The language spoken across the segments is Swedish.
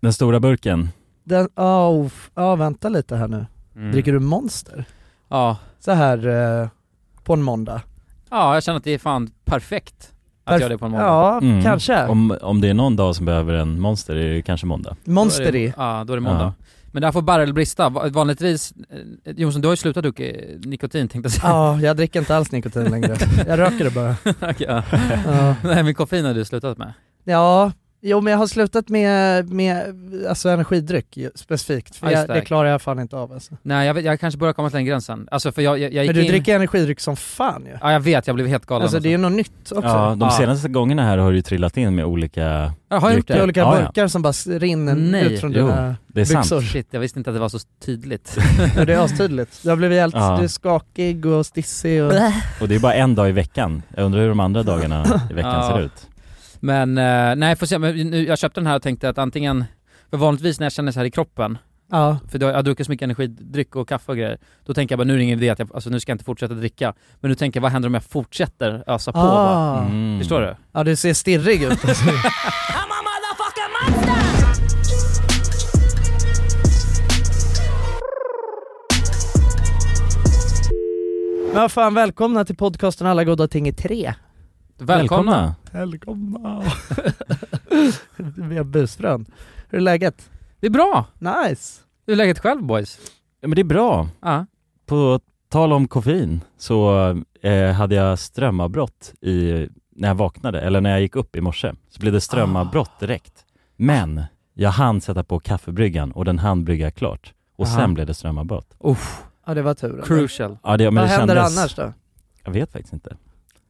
Den stora burken. Den, oh, f- ja, vänta lite här nu. Mm. Dricker du Monster? Ja. Så här eh, på en måndag? ja, jag känner att det är fan perfekt att Perf- göra det på en måndag. Ja, Mm. kanske. Om, om det är någon dag som behöver en monster är det kanske måndag. Då är Monster det- i. Ja, då är det måndag. Men där får barrel brista. Va- Vanligtvis, eh, Jonsson du har ju slutat dricka eh, nikotin tänkte jag säga. Ja, jag dricker inte alls nikotin längre. Jag röker det bara. Okej, ja. Ja. Nej men koffein har du slutat med. Ja, jo men jag har slutat med, med alltså energidryck ju- specifikt, för Ja, just jag, det. det klarar jag fan inte av alltså. Nej jag, vet, jag kanske börjar komma till den gränsen. Alltså för jag, jag, jag gick Men du in... dricker energidryck som fan ju. Ja jag vet, jag blev helt galen. Alltså det är ju något nytt också. Ja, de Ja. senaste gångerna här har det ju trillat in med olika, ja, har jag gjort Det är drycker. det? olika Ja, ja. burkar som bara s- rinner Nej, ut från jo. dina... det är sant. Byxor. Shit, jag visste inte att det var så tydligt. Ja, Det är astydligt. Du har blivit helt Ja. du är skakig och stissig och... Och det är bara en dag i veckan. Jag undrar hur de andra dagarna i veckan Ja. ser ut. Men eh, nej, får se. Men nu, jag köpte den här och tänkte att antingen, för vanligtvis när jag känner så här i kroppen, Ja. för då, jag har druckit så mycket energidryck och kaffe och grejer, då tänker jag bara nu är det ingen idé att jag, alltså nu ska jag inte fortsätta dricka. Men nu tänker jag vad händer om jag fortsätter ösa på bara? Ah. Mm. Förstår du? ja, du ser stirrig ut alltså. Men vad fan, välkomna till podcasten Alla goda ting i tre. Välkomna! Välkomna! Vi har busfrön. Hur är läget? Det är bra! Nice! Hur är läget själv boys? Ja, men det är bra. Ja. På tal om koffein så eh, hade jag strömavbrott i, när jag vaknade, eller när jag gick upp i morse. Så blev det Ah. strömavbrott direkt. Men jag hann sätta på kaffebryggan och den hann brygga klart. Och Aha. sen blev det strömavbrott. Ja det var tur. Crucial. Ja, det, men Vad det händer kändes, annars då? Jag vet faktiskt inte.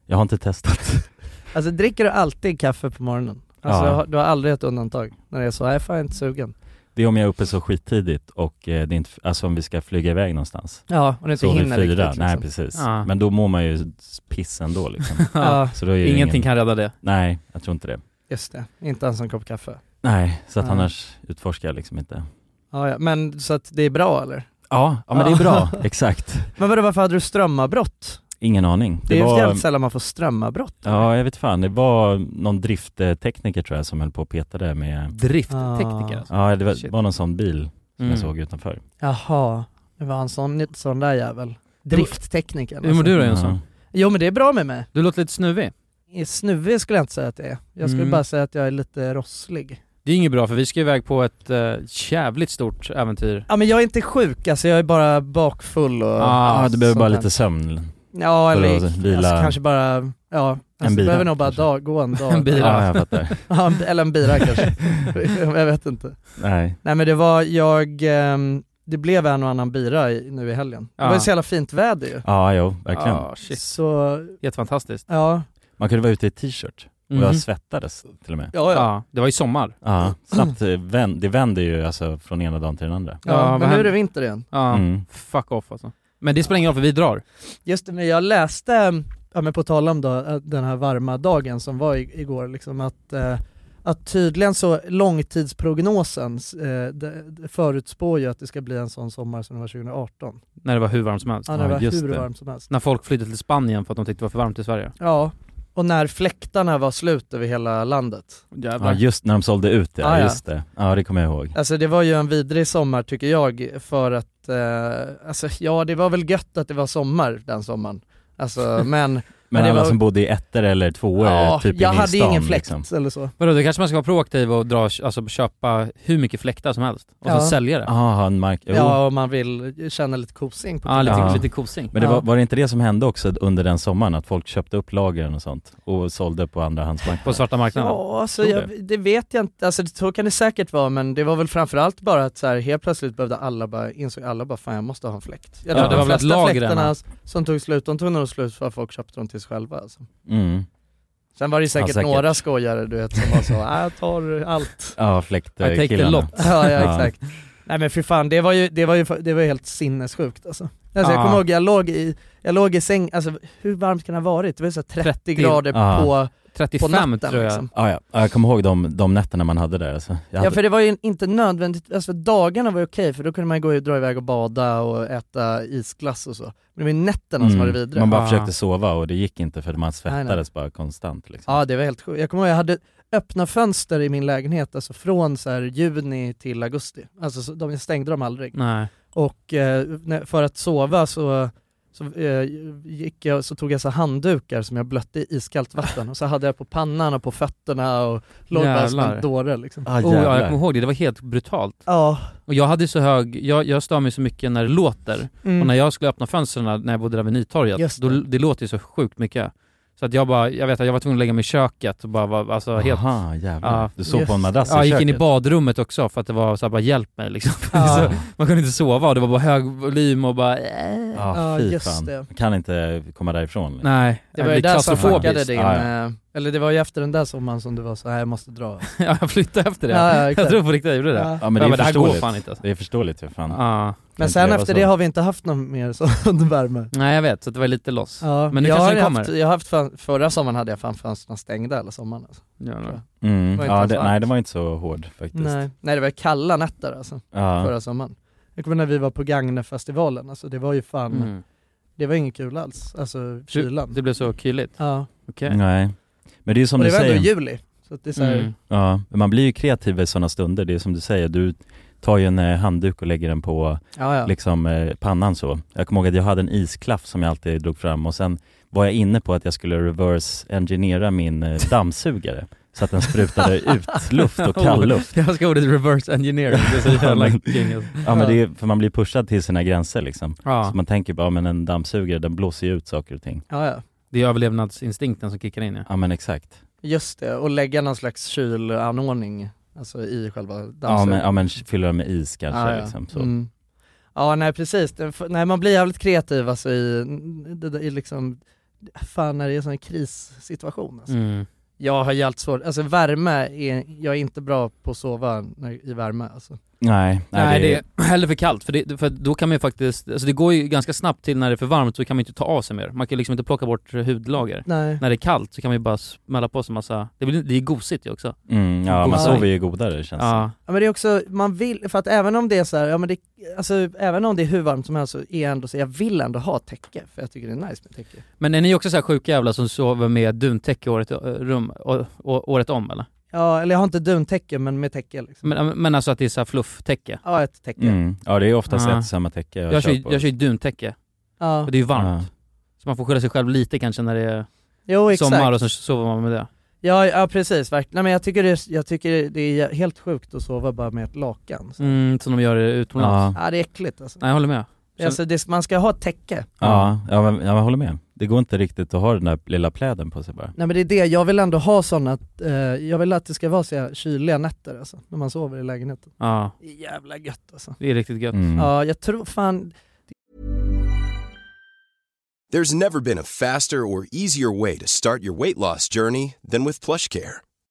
Jag har inte testat. Alltså dricker du alltid kaffe på morgonen? Alltså Ja. du har- du har aldrig ett undantag när det är så, nej fan jag är inte sugen. Det är om jag är uppe så skittidigt och eh, det är inte, alltså om vi ska flyga iväg någonstans. Ja, och du inte Så vid hinner fyra, riktigt liksom. nej precis. Ja. Men då mår man ju piss ändå liksom. Ja, Så då är det ju Ingenting ingen, kan rädda det. Nej, jag tror inte det. just det. Inte ens en kopp kaffe. Nej, så att Ja. annars utforskar jag liksom inte. Ja, ja. Men så att det är bra eller? Ja, ja men det är bra. Exakt. Men vadå, varför hade du strömavbrott? Ingen aning. Det, är ju jävligt sällan man får strömavbrott. ja, jag vet fan. Det var någon drifttekniker tror jag som höll på och petade med, Ah. Drifttekniker alltså. ja det var, Shit. var någon sån bil som Mm. jag såg utanför. Jaha, det var en sån, sån där jävel. Drifttekniker. alltså. Hur mår du då Jonsson? Ja. Jo men det är bra med mig. Du låter lite snuvig. I Snuvig skulle jag inte säga att det är. Jag skulle Mm. bara säga att jag är lite rosslig. Det är inget bra för vi ska iväg på ett eh, jävligt stort äventyr. Ja men jag är inte sjuk, alltså jag är bara bakfull och... Ah, Ja, du behöver sånt bara där. lite sömn. Ja eller För att vila. alltså, kanske bara, ja. bira, Alltså, du behöver nog bara kanske. dag, gå en dag. En bira. Ja, jag fattar. Ja, en- eller en bira kanske. jag vet inte. Nej. Nej men det var, jag, ehm, det blev en och annan bira i, nu i helgen. Det var Ja. ju så jävla fint väder ju. Ja, jo, verkligen. Ah, shit. Så, Helt fantastiskt. ja. Man kunde vara ute i t-shirt och jag Mhm. svettades till och med. Ja, ja. Ja, det var ju sommar. Ja, snabbt, eh, vän- det vänder ju alltså från ena dagen till den andra. ja, Ja, men vad nu är det händer? vinter igen. Ja, Mm. fuck off alltså. Men det spelar ingen roll för vi drar. Just det, men jag läste, eh, ja, men på tal om då, eh, den här varma dagen som var i- igår, liksom att, eh, att tydligen så långtidsprognosen eh, det- det förutspår ju att det ska bli en sån sommar som det var 2018. När det var hur varmt som helst. Ja, när Ja, det var just hur det. varmt som helst. När folk flydde till Spanien för att de tyckte det var för varmt i Sverige. Ja, och när fläktarna var slut över hela landet. Ja, just när de sålde ut det, Ah, ja, ja. just det. Ja, det kommer jag ihåg. Alltså det var ju en vidrig sommar tycker jag för att, eh, alltså ja det var väl gött att det var sommar den sommaren. Alltså men, Men, det alla var- som bodde i ettor eller tvåor, ja, typ jag inne i hade stan, ingen fläkt Liksom. eller så. Vadå, då kanske man ska vara proaktiv och dra, alltså köpa hur mycket fläktar som helst och Ja. sen sälja det. Ja, Ah, han mark- jo. Ja, om man vill känna lite kosing på lite, Ja. lite kosing. Men det var, Ja. var det inte det som hände också under den sommaren, att folk köpte upp lagren och sånt och sålde på På andrahandsmarknaden? svarta marknaden. Ja, alltså Tror jag, det vet jag inte, alltså det- så kan det säkert vara men det var väl framförallt bara att så här, helt plötsligt behövde alla bara, insåg alla bara fan jag måste ha en fläkt. Jag Ja, tror det de var väl att flesta lagren- fläktarna som tog slut, de tog nog slut för att folk köpte dem till sig själva alltså. Mm. Sen var det ju säkert, Ja, säkert. några skojare du vet som var så, "Ah, jag tar allt. Ja, I take the fläktkillarna. lot. Ja, ja Ja. exakt. Nej men fy fan, det var ju, det var ju det var ju helt sinnessjukt alltså. alltså Jag Ja. kommer ihåg, jag låg i, jag låg i säng, alltså hur varmt kan det ha varit? Det var ju så här 30, 30, grader ja. på, på 35 natten tror jag. liksom. Ah, ja, Ja, jag kommer ihåg de, de nätterna man hade där alltså. Jag Ja hade, för det var ju inte nödvändigt, alltså dagarna var ju okej för då kunde man ju gå och dra iväg och bada och äta isglass och så. Men det var ju nätterna som var det Mm. vidriga. Man bara Ah. försökte sova och det gick inte för man nej. svettades bara konstant liksom. Ja det var helt sjukt. Jag kommer ihåg jag hade, öppna fönster i min lägenhet alltså från så här juni till augusti. Alltså så, de jag stängde dem aldrig. Mm. Nej. Och eh, när- för att sova så, så, eh, gick jag, så tog jag så här handdukar som jag blötte i iskallt vatten och så hade jag på pannan och på fötterna och låg bara som en Jävlar. dåre liksom. Ah, Oh, ja, jag jävlar. kommer ihåg det, det var helt brutalt. Ja. Och jag hade så hög, jag, jag stör mig så mycket när det låter. Mm. Och när jag skulle öppna fönstren när jag bodde där vid Nytorget, Just då, det. det låter ju så sjukt mycket. Så att jag bara, jag vet att jag var tvungen att lägga mig i köket och bara var, alltså helt... Aha, jävlar. Ja. du sov på en Just- madrass alltså, ja, jag i gick in i köket. badrummet också för att det var såhär bara hjälp mig liksom. Ja. så, man kunde inte sova och det var bara hög volym och bara... eh. Ja, Ja, Ah, fy just fan. det. Man kan inte komma därifrån. liksom. Nej, Det jag var ju blir där som klaustrofobiskt. fuckade din, Ja, eh, eller det var ju efter den där sommaren som du var så här jag måste dra. Ja, jag flyttade efter det. Ja, ja, jag exakt. tror på riktigt jag gjorde det. Ja. Ja men det Ja, är men det här går förståeligt. fan inte alltså. Det är förståeligt för fan. Ja. Men inte sen leva efter så. det har vi inte haft någon mer sån värme. Nej jag vet, så det var lite loss. Ja, Men nu jag kanske den har kommer. Haft, jag har haft fan, förra sommaren hade jag fan fönstren stängda hela sommaren. Alltså. Ja. Mm. var inte Ja, alls det, varmt. nej det var inte så hård faktiskt. Nej. Nej, det var kalla nätter alltså, Ja. förra sommaren. Jag kommer när vi var på Gagnefestivalen, alltså det var ju fan, Mm. det var inget kul alls, alltså kylan. Det blev så kyligt. ja. Okej. Nej. Men det är ju som Och det du var ändå säger. juli, så att det är så här, Mm. Ja, men man blir ju kreativ i sådana stunder. Det är som du säger, du tar ju en eh, handduk och lägger den på ja ja. liksom, eh, pannan så. Jag kommer ihåg att jag hade en isklaff som jag alltid drog fram och sen var jag inne på att jag skulle reverse engineera min eh, dammsugare så att den sprutade ut luft och kall luft. Jag ska ordet reverse engineering, det är så jävla Ja, king alltså. Ja, men det är, för man blir pushad till sina gränser liksom. Ja, Så man tänker bara, ja, men en dammsugare den blåser ju ut saker och ting. ja, ja. det är överlevnadsinstinkten som kickar in ja. Ja men exakt. Just det, och lägga någon slags kylanordning alltså i själva Ja men, dammsugaren. ja men fyller den med is kanske Ah, ja. liksom. Så. Mm. Ja nej precis, Det- f- nej, man blir jävligt kreativ alltså i, det där- i liksom, fan när det är en sån här krissituation alltså. Mm. Jag har jävligt svårt, alltså värme, är, jag är inte bra på att sova när, i värme alltså. Nej, nej, Nej det, det är hellre för kallt, för, det, för då kan man ju faktiskt, alltså det går ju ganska snabbt till när det är för varmt så kan man ju inte ta av sig mer. Man kan ju liksom inte plocka bort hudlager. Nej. När det är kallt så kan man ju bara smälla på sig massa, det, blir, det är gosigt ju också. Mm, ja man Godare. sover ju godare känns det Ja. Ja, men det är också, man vill, för att även om det är så här, ja men det, alltså även om det är hur varmt som helst så är jag ändå så, jag vill ändå ha täcke, för jag tycker det är nice med täcke. Men är ni också så här sjuka jävlar som sover med duntäcke året, ö, rum, å, å, året om eller? Ja, eller jag har inte duntäcke men med täcke liksom. Men, men alltså att det är så här flufftäcke? Ja, ett täcke. Mm. Ja det är oftast Ja. ett och samma täcke jag, Jag, kör, kör ju- på. jag kör ju duntäcke, Ja. och det är ju varmt. Ja. Så man får skylla sig själv lite kanske när det är Jo exakt. sommar och så sover man med det. Ja, ja precis, verkligen. Nej, men jag tycker, det, jag tycker det är helt sjukt att sova bara med ett lakan. Så. Mm, som de gör utomlands. Ja. Ja, det är äckligt alltså. Nej jag håller med. alltså det, man ska ha ett täcke. Ja, ja, men, jag håller med. Det går inte riktigt att ha den där lilla pläden på sig bara. Nej men det är det, jag vill ändå ha sådana, eh, jag vill att det ska vara så här kyliga nätter alltså, när man sover i lägenheten. Ja, Det är jävla gött alltså. det är riktigt gött. Mm. Ja, jag tror fan, There's never been a faster or easier way to start your weight loss journey than with PlushCare.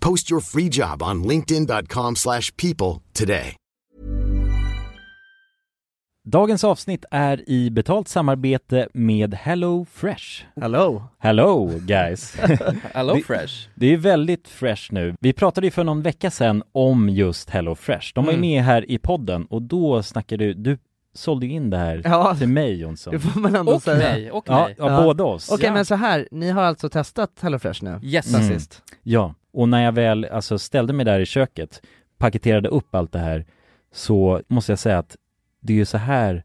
Post your free job on linkedin.com/people slash people today. Dagens avsnitt är i betalt samarbete med Hello Fresh. hello. Hello guys! Hello Det- fresh. Det är väldigt fresh nu. Vi pratade ju för någon vecka sedan om just Hello Fresh. De var ju Mm. med här i podden och då snackade du, du sålde ju in det här Ja, till mig Jonsson. det får man ändå Och säga. mig, och Ja, mig. ja, Ja. båda oss. Okej Ja. men så här, ni har alltså testat HelloFresh nu? Yes. Mm. Sist. Ja, och när jag väl alltså, ställde mig där i köket, paketerade upp allt det här, så måste jag säga att det är ju så här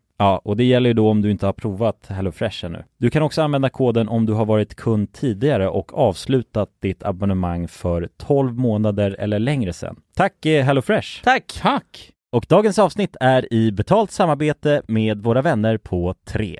Ja, och det gäller ju då om du inte har provat HelloFresh ännu. Du kan också använda koden om du har varit kund tidigare och avslutat ditt abonnemang för 12 månader eller längre sedan. Tack eh, HelloFresh! Tack! Tack! Och dagens avsnitt är i betalt samarbete med våra vänner på 3.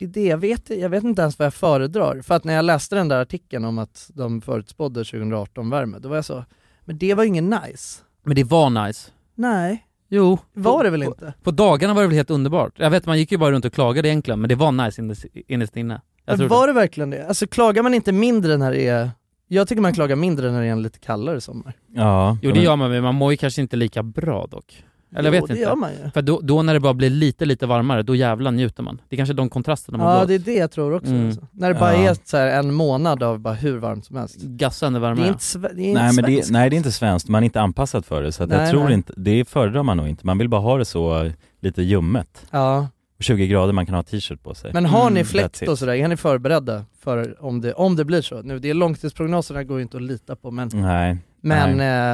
Det jag vet, jag vet inte ens vad jag föredrar. För att när jag läste den där artikeln om att de förutspådde 2018-värme, då var jag så, men det var ju ingen nice. Men det var nice. Nej, Jo. var på, det väl på, inte? På dagarna var det väl helt underbart. Jag vet, man gick ju bara runt och klagade egentligen, men det var nice innes- innerst inne. Jag Men tror var det verkligen det? Alltså klagar man inte mindre när det är, jag tycker man klagar mindre när det är en lite kallare sommar. Ja, Jo ja, det men- gör man, men man mår ju kanske inte lika bra dock. Eller jag Jo, vet det inte. gör man ju. För då, då när det bara blir lite, lite varmare, då jävlar njuter man. Det är kanske de kontrasterna man Ja går det är det jag tror också. Mm. Alltså. När det bara Ja. är så här en månad av bara hur varmt som helst. gassa ännu Det är varmare. inte, sve- det är inte Nej, men det, svenskt. nej det är inte svenskt, man är inte anpassad för det så att jag Nej, tror nej. inte, det föredrar man nog inte, man vill bara ha det så eh, lite ljummet. Ja. 20 grader man kan ha t-shirt på sig. Men har ni Mm, fläkt that's it. och sådär, är ni förberedda för om det, om det blir så? Nu, det är långtidsprognoserna går ju inte att lita på men, Nej, men,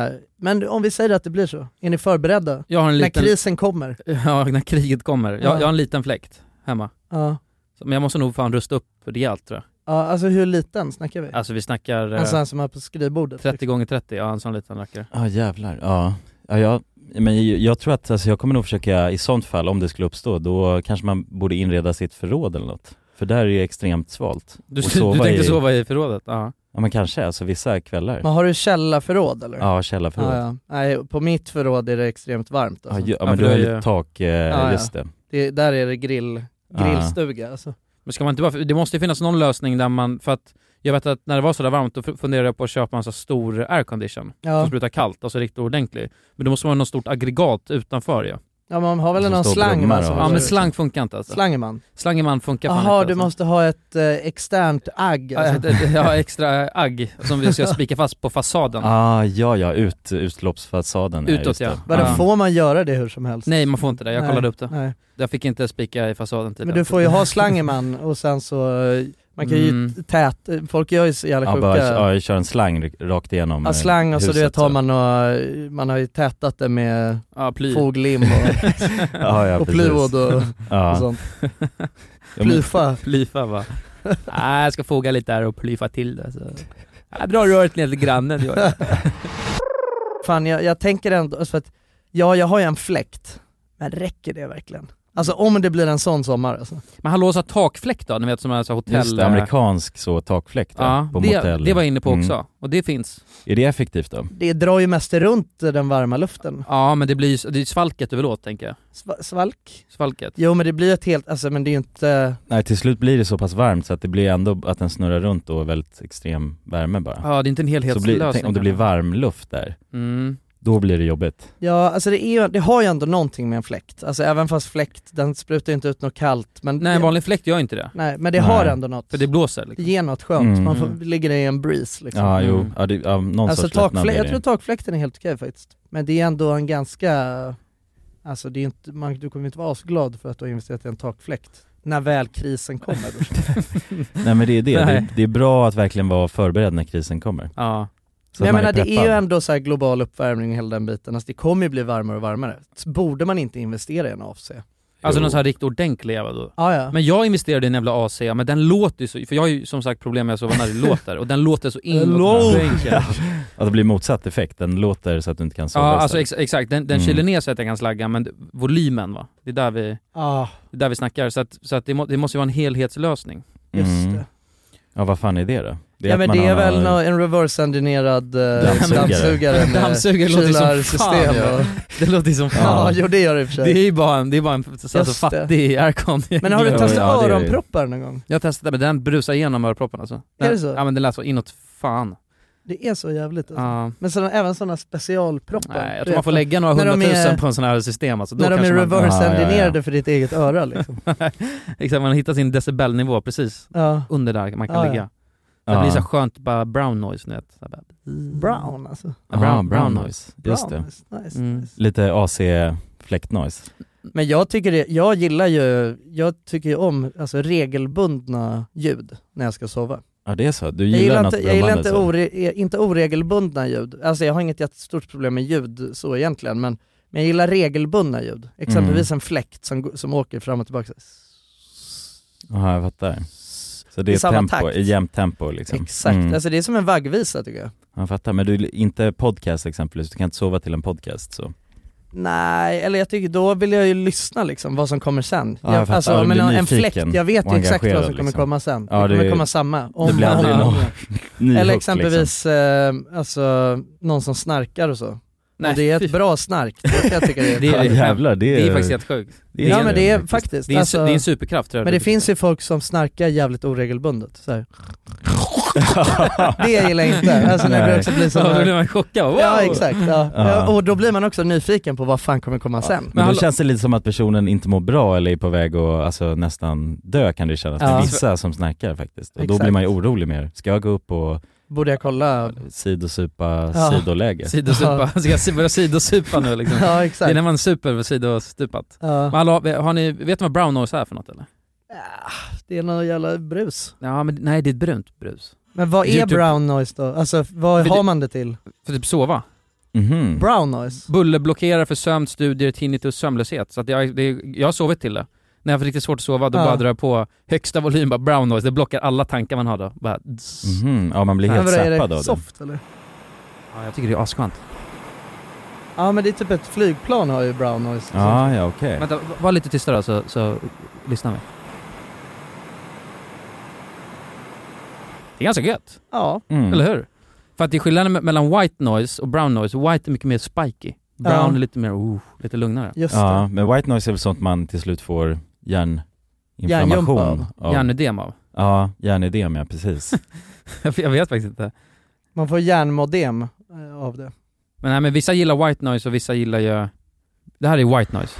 eh, men om vi säger att det blir så, är ni förberedda? Jag har en liten... När krisen kommer? Ja, när kriget kommer. Jag, Ja. jag har en liten fläkt hemma. Ja. Så- Men jag måste nog fan rusta upp rejält tror ja, alltså hur liten snackar vi? jag. Alltså vi snackar eh, en sån som är på skrivbordet? 30 gånger 30 ja en sån liten rackare. ja jävlar. Ja, ja jag, men jag- jag tror att alltså, jag kommer nog försöka, i sånt fall om det skulle uppstå, då kanske man borde inreda sitt förråd eller något. För där är det extremt svalt. Du, Och du sova tänkte i- sova i förrådet? Ja. Ja men kanske, alltså vissa kvällar. Men har du källarförråd eller? Ja, källarförråd. Ja, Ja, ja. Nej, på mitt förråd är det extremt varmt ja. alltså. ju- ja, Ja, men för du har det är ju ju- tak, eh, ja. just det. det, Där är det grill, Ja. grillstuga alltså. Men ska man inte bara, det måste ju finnas någon lösning där man, för att jag vet att när det var sådär varmt då f- funderade jag på att köpa en så stor aircondition som Ja. sprutar kallt, alltså riktigt ordentlig. Men det måste vara något stort aggregat utanför ja. ja, man har väl Som någon står slang brummar man som- och- Ja men slang funkar inte alltså. Slang är man. Slangeman funkar fan Jaha, inte alltså. du måste ha ett eh, externt agg Ja, alltså. ett- ett- Ja, extra agg som vi ska spika fast på fasaden. Ah, ja, ja, ut, utloppsfasaden. Utåt, just det. ja. Vadå, Ja. får man göra det hur som helst? Nej man får inte det, jag Nej, kollade upp det. Nej. Jag fick inte spika i fasaden typ tidigare. Men du får ju ha Slangeman och sen så, eh, man kan ju Mm. tät, folk gör ju så jävla Ja, sjuka, bara ja, ja, jag kör en slang r- rakt igenom eh, slang och så du huset, vet har man och, man har ju tätat det med Ja, ply. foglim och, ja, ja, och precis. plywood och, och ja. sånt, Ja, men- plyfa. Plyfa va? Nej, jag ska foga lite här och plyfa till det. Så. Jag drar röret ner till grannen. Gör jag. Fan jag, jag tänker ändå, alltså för att, ja jag har ju en fläkt, men räcker det verkligen? Alltså om det blir en sån sommar alltså. Men hallå, så här takfläkt då? Ni vet som är så här hotell... Just det, amerikansk så takfläkt Ja, ja, på det, motell. det var jag inne på Mm. också. Och det finns. Är det effektivt då? Det drar ju mest runt den varma luften. Ja, men det blir ju- det är ju svalket du vill åt tänker jag. Sva- Svalk? Svalket. Jo men det blir ett helt, alltså men det är ju inte, Nej till slut blir det så pass varmt så att det blir ändå att den snurrar runt och väldigt extrem värme bara. Ja, det är inte så en blir, helhetslösning. tänk, om det blir varm luft där, Mm. då blir det jobbigt. ja alltså det, är ju, det har ju ändå någonting med en fläkt. Alltså även fast fläkt, den sprutar ju inte ut något kallt men Nej, en vanlig fläkt gör inte det. nej, men det Nej. har ändå något. För det Det blåser liksom. ger något skönt, Mm. man får, ligger i en breeze liksom. Ja, jo, Mm. ja, det, ja, någon alltså sorts lättnad takflä- blir jag det. tror takfläkten är helt okej faktiskt. Men det är ändå en ganska, alltså det är inte, man, du kommer inte vara asglad för att du har investerat i en takfläkt. När väl krisen kommer. Nej men det är det, det Nej. är, det är bra att verkligen vara förberedd när krisen kommer. Ja. Så Men jag att man menar det är ju preppad. ändå så här global uppvärmning och hela den biten, alltså det kommer ju bli varmare och varmare. Så Borde man inte investera i en AFC? Alltså Jo. någon sån här riktigt ordentlig jävla då. Ah, ja. Men jag investerade i en jävla AC, men den låter ju så, för jag har ju som sagt problem med att sova när det låter, och den låter så inåt bänken. Att det blir motsatt effekt, den låter så att du inte kan Ja, sova alltså istället. ex exakt. Den, den Mm. kyler ner så att den kan slagga, men d- volymen va? Det är där vi, ah. det är där vi snackar. Så, att, så att det, må, det måste ju vara en helhetslösning. Just Mm. det. Ja vad fan är det då? Det ja att men man det är har- väl nå- en reverse-engineerad eh, Dammsugare. dammsugare med Dammsugare låter som fan, kylarsystem ja. och, Det låter ju som ja fan. jo det gör det i och för det sig. är ju bara en, det är bara en alltså, Just det. fattig aircon. Men har du Ja, testat ja, det är- öronproppar någon gång? Jag testade, men den brusar igenom öronproppen alltså. Den, Är det så? Ja men den lät så inåt fan. Det är så jävligt alltså. Ja. Men sådana, även sådana specialproppar. nej, jag Du tror man vet, får lägga några när de hundratusen är- på en sån här system alltså. Då När de är kanske man, reverse-engineerade Ja, ja, ja. för ditt eget öra liksom. exakt, man hittar sin decibelnivå precis Ja. under där man kan Ah, Ja, ja. ligga. Ja. Det blir så skönt bara brown noise ni vet. Så här bara- Brown alltså. Ja, Aha, Ah, brown, brown noise, Brown, just det. nice, nice, Mm. nice. Lite AC fläktnoise. Men jag tycker det, jag gillar ju, jag tycker ju om alltså, regelbundna ljud när jag ska sova. Ja det är så, du Jag gillar, gillar något alltså? inte, jag gillar brummande inte, så. ore, eh, inte oregelbundna ljud, alltså jag har inget jättestort problem med ljud så egentligen men, men jag gillar regelbundna ljud. Mm. Exempelvis en fläkt som, gå- som åker fram och tillbaka. Liksom. Aha, jag fattar. Så det I är samma tempo, takt. i jämnt tempo liksom. Exakt, Mm. alltså det är som en vaggvisa tycker jag. Jag fattar, men du, inte podcast exempelvis, du kan inte sova till en podcast så. Nej, eller jag tycker då vill jag ju lyssna liksom vad som kommer sen. Ja, jag jag, fattar. alltså, Du men blir en nyfiken fläkt, jag vet och ju exakt vad som engagerad, kommer liksom. komma sen. Ja, det det- kommer komma samma. Om, blir aldrig om- någon Ny Eller hook, liksom. exempelvis eh, alltså, någon som snarkar och så. Nej, och det är fy ett bra snark, det kan jag tycka det är. Det är- Liksom. Ja, jävlar, det är, Det är faktiskt helt sjukt. det ja men det är faktiskt, Det är en, alltså, det är en superkraft tror jag. men det finns ju folk som snarkar jävligt oregelbundet. Så här. Det gillar jag inte. Alltså, när Nej. det också blir som, Ja, då blir man chockad. Wow! ja exakt, ja. Ja. Ja, och då blir man också nyfiken på vad fan kommer komma sen. Men då hallå- känns det lite som att personen inte mår bra eller är på väg att alltså, nästan dö kan det kännas. Det Ja. är vissa som snarkar faktiskt. Och Exakt. då blir man ju orolig mer. Ska jag gå upp och Borde jag kolla? sidosupa Ja. sidoläge? Sidosupa. Ska jag si- börja sidosupa nu liksom? Ja Det är exakt. när man super vid sidostupat. Men Ja. hallå, har ni, vet ni vad brown noise är för något eller? Ah, Det är någon jävla brus. Ja men nej det är ett brunt brus. Men vad är typ- YouTube- brown noise då? Alltså vad För har det- man det till? För typ sova. Mhm. Brown noise? Buller blockerar för sömn, studier, tinnitus, sömnlöshet. Så att jag, det, jag har sovit till det. När jag har riktigt svårt att sova, då Ja. bara drar jag på högsta volym, bara brown noise. Det blockar alla tankar man har då. Bara, dzz. Mhm. Ja man blir Men helt vadå, är zappad det av det. soft eller? ja, jag tycker det är asskönt. Ja men det är typ ett flygplan har ju brown noise. Ja, ja okej. Vänta, v- var lite tystare då, så, så lyssnar vi. Det är ganska gött, Ja. Mm. eller hur? För att det är skillnaden me- mellan white noise och brown noise. White är mycket mer spiky. Brown Ja. är lite mer, oh, lite lugnare. Just Ja, men white noise är väl sånt man till slut får Hjärnjumpa av. hjärninflammation av. Hjärnödem av. Ja, hjärnödem ja, precis. jag vet faktiskt inte. det. Man får hjärnmodem eh, av det. Men nej men vissa gillar white noise och vissa gillar ju... Det här är white noise.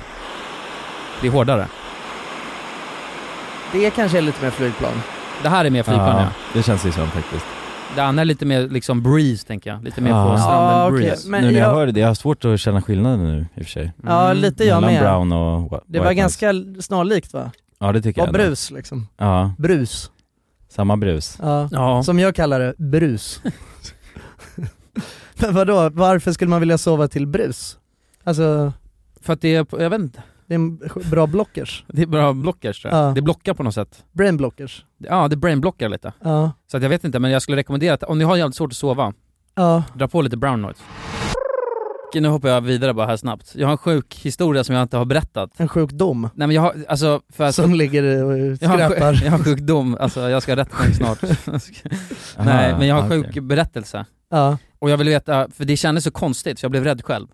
Det är hårdare. Det kanske är lite mer flygplan. Det här är mer flygplan ja. ja, det känns ju som faktiskt. Det andra är lite mer liksom breeze tänker jag. Lite mer Ja. på stranden Ja, okej. breeze. Men nu när jag, jag- hör det, jag har svårt att känna skillnaden nu i och för sig. Ja Mm. lite jag Mellan med. brown och wh- Det white var noise. ganska snarlikt va? Ja det tycker Och jag ändå. brus liksom. Ja, Brus. samma brus. Ja. Ja. Som jag kallar det, brus. Men vadå, varför skulle man vilja sova till brus? Alltså, För att det är, på- jag vet inte. det är en bra blockers. Det är bra blockers tror jag. Ja. Det blockar på något sätt. Brain blockers. Ja, det brainblockar lite. Ja. Så att jag vet inte, men jag skulle rekommendera att om ni har jävligt svårt att sova, Ja. dra på lite brown noise. Okej, Nu hoppar jag vidare bara här snabbt. Jag har en sjuk historia som jag inte har berättat. En sjukdom. Nej men jag har, alltså för att... som ligger och jag, har, en sjuk- skräpar. jag har en sjukdom, alltså jag ska ha rättning snart. Aha, Nej, men jag har en okej. sjuk berättelse. Ja, Och jag vill veta, för det kändes så konstigt så jag blev rädd själv.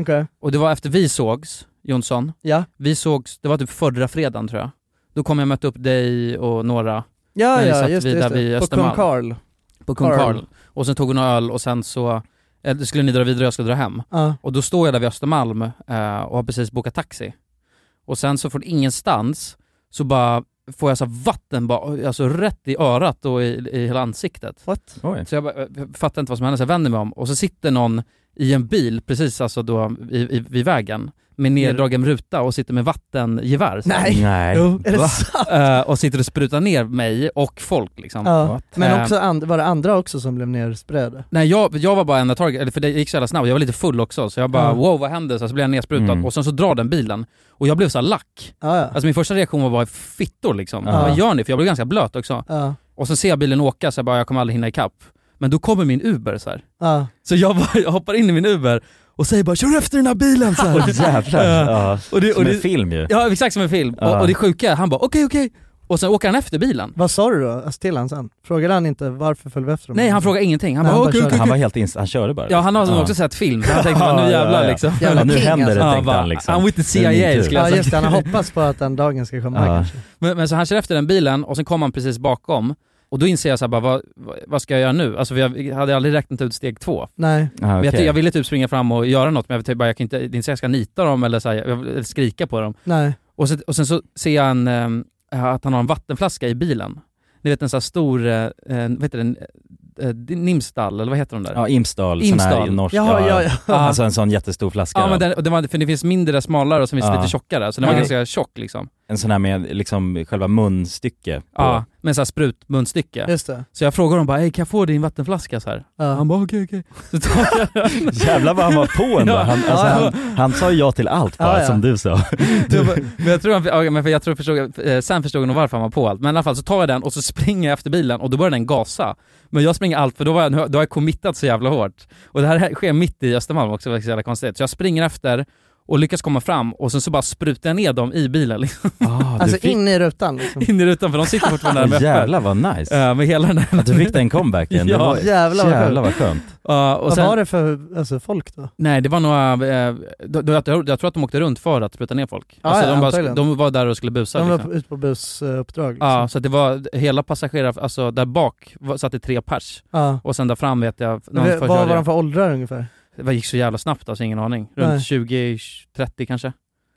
okej. Och det var efter vi sågs, Jonsson. Ja. Vi sågs, det var typ förra fredagen tror jag. Då kom jag och mötte upp dig och några Ja, När vi ja, satt just det. vid Just där vid det. På Östermalm. Kung Karl. på Kung Karl. Karl. Och sen tog vi några öl och sen så eller, skulle ni dra vidare och jag skulle dra hem. Ja. Och då står jag där vid Östermalm eh, och har precis bokat taxi. Och sen så från ingenstans så bara får jag så här vatten bara, alltså rätt i örat och i, i hela ansiktet. What? Oj. Så jag, bara, eh, jag fattar inte vad som hände, så jag vänder mig om och så sitter någon i en bil precis alltså då i, i, vid vägen med neddragen ruta och sitter med vattengevär så här. Nej. Nej. Jo, är det Va? sant? Eh, och sitter och sprutar ner mig och folk liksom. Ja. Men Eh. också and- var det andra också som blev nersprädda? Nej jag, jag var bara enda taget, eller för det gick så jävla snabbt, jag var lite full också så jag bara Ja. wow vad hände? Så, här, så blev jag nedsprutad Mm. och sen så drar den bilen och jag blev så här lack. Ja, ja. Alltså min första reaktion var bara fittor liksom. Ja. Vad gör ni? För jag blev ganska blöt också. Ja, Och sen ser jag bilen åka så jag bara jag kommer aldrig hinna ikapp. Men då kommer min Uber så här. ja. Så jag, bara, jag hoppar in i min Uber och säger bara 'Kör efter den här bilen!' Så här. Åh jävlar. Ja. och det, och Som en det, film ju. ja exakt som en film. Och, Ja. och det sjuka, är, han bara 'Okej, okej' och sen åker han efter bilen. Vad sa du då alltså, till han sen? Frågade han inte varför föll vi efter honom? Nej han frågar ingenting, han Nej, bara han bara 'Okej, kör. okej, Han var okej' helt inst- han körde bara. Ja han har också sett film, så han tänkte bara, 'Nu Ja, jävlar' ja, ja. liksom. Ja, Jävla nu king, händer det alltså. tänkte bara, han liksom. I'm with the Nu är min CIA tur. skulle Ja jag just det, säga. han hoppas på att den dagen ska komma Ja. kanske. Men, men så han kör efter den bilen och sen kommer han precis bakom. Och då inser jag så här, bara, vad, vad- vad ska jag göra nu? Alltså för jag hade aldrig räknat ut steg två. Nej, Ja, Men jag, okej. ty- jag ville typ springa fram och göra något men jag, typ bara, jag kan inte, det är inte så jag ska nita dem eller, så här, jag vill, eller skrika på dem. nej. Och, så, och sen så ser jag en, ehm, att han har en vattenflaska i bilen. Ni vet en sån här stor, eh, eh, vad heter den, eh, eh, Nimsdall, eller vad heter de där? Ja, Imsdal, sån här Imsdal. norsk, Jaha, ja, ja. alltså en sån jättestor flaska. Ja, men den, och det var, för det finns mindre, smalare och som finns Ja. lite tjockare, så den var Nej. ganska tjock liksom. En sån här med liksom själva munstycke på. Ja, med en sån här sprutmunstycke. just det. Så jag frågar honom bara, "Ey, kan jag få din vattenflaska? Så här. Ja. Han bara, okej okej. Så tar jag den. Jävlar vad han var på ändå. Han, alltså, Ja, ja. han, han sa ja till allt bara, Ja, ja. som du sa. Jag bara- men jag tror han, ja, men för jag tror förstod, eh, sen förstod han nog varför han var på allt. Men i alla fall så tar jag den och så springer jag efter bilen och då börjar den gasa. Men jag springer allt för då, var jag, nu har- då har jag committat så jävla hårt. Och det här sker mitt i Östermalm också, vilket är så jävla konstigt. Så jag springer efter och lyckas komma fram och sen så bara sprutar jag ner dem i bilen liksom, Ah, Alltså du fick... in i rutan liksom. in i rutan för de sitter fortfarande där med öppen. Jävlar vad nice! Eh, Med hela den där... Att du fick den comebacken, det Ja, var jävlar vad jävlar vad skönt. Ja, och Vad sen, var det för alltså, folk då? Nej det var några, eh, då- då- jag, tror- jag tror att de åkte runt för att spruta ner folk. Ja, alltså, Ah, ja, de, bara, antagligen. de var där och skulle busa De var liksom. på- ute på busuppdrag liksom. Ja, så att det var hela passagerar, alltså där bak var- satt det tre pers Ja. och sen där fram vet jag, Men någon Vad först körde var jag. de för åldrar ungefär? det gick så jävla snabbt alltså, ingen aning. Nej. Runt 20-30 kanske.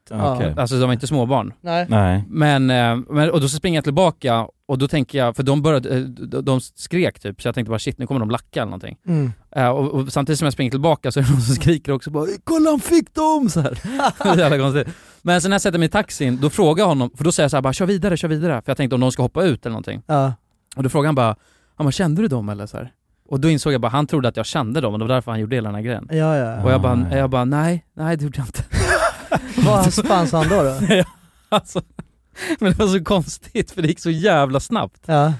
Ja. Okej. Alltså de var inte småbarn. Nej. Nej. Men, eh, men, och då så springer jag tillbaka och då tänker jag, för de började, eh, de, de skrek typ så jag tänkte bara shit nu kommer de lacka eller någonting. Mm. Eh, och, och samtidigt som jag springer tillbaka så är det någon som skriker också bara “Kolla han fick dem!” så här. Det är jävla konstigt. Men sen när jag sätter mig i taxin, då frågar jag honom, för då säger jag så här bara “Kör vidare, kör vidare” för jag tänkte om någon ska hoppa ut eller någonting. Ja. Och då frågade han bara, han bara, kände du dem eller så här? Och då insåg jag bara, han trodde att jag kände dem och det var därför han gjorde hela den här grejen. Ja, ja. Och jag Ah, bara, ja. jag bara nej, nej det gjorde jag inte. Vad fan sa han då? då? Alltså, men det var så konstigt för det gick så jävla snabbt. Ja.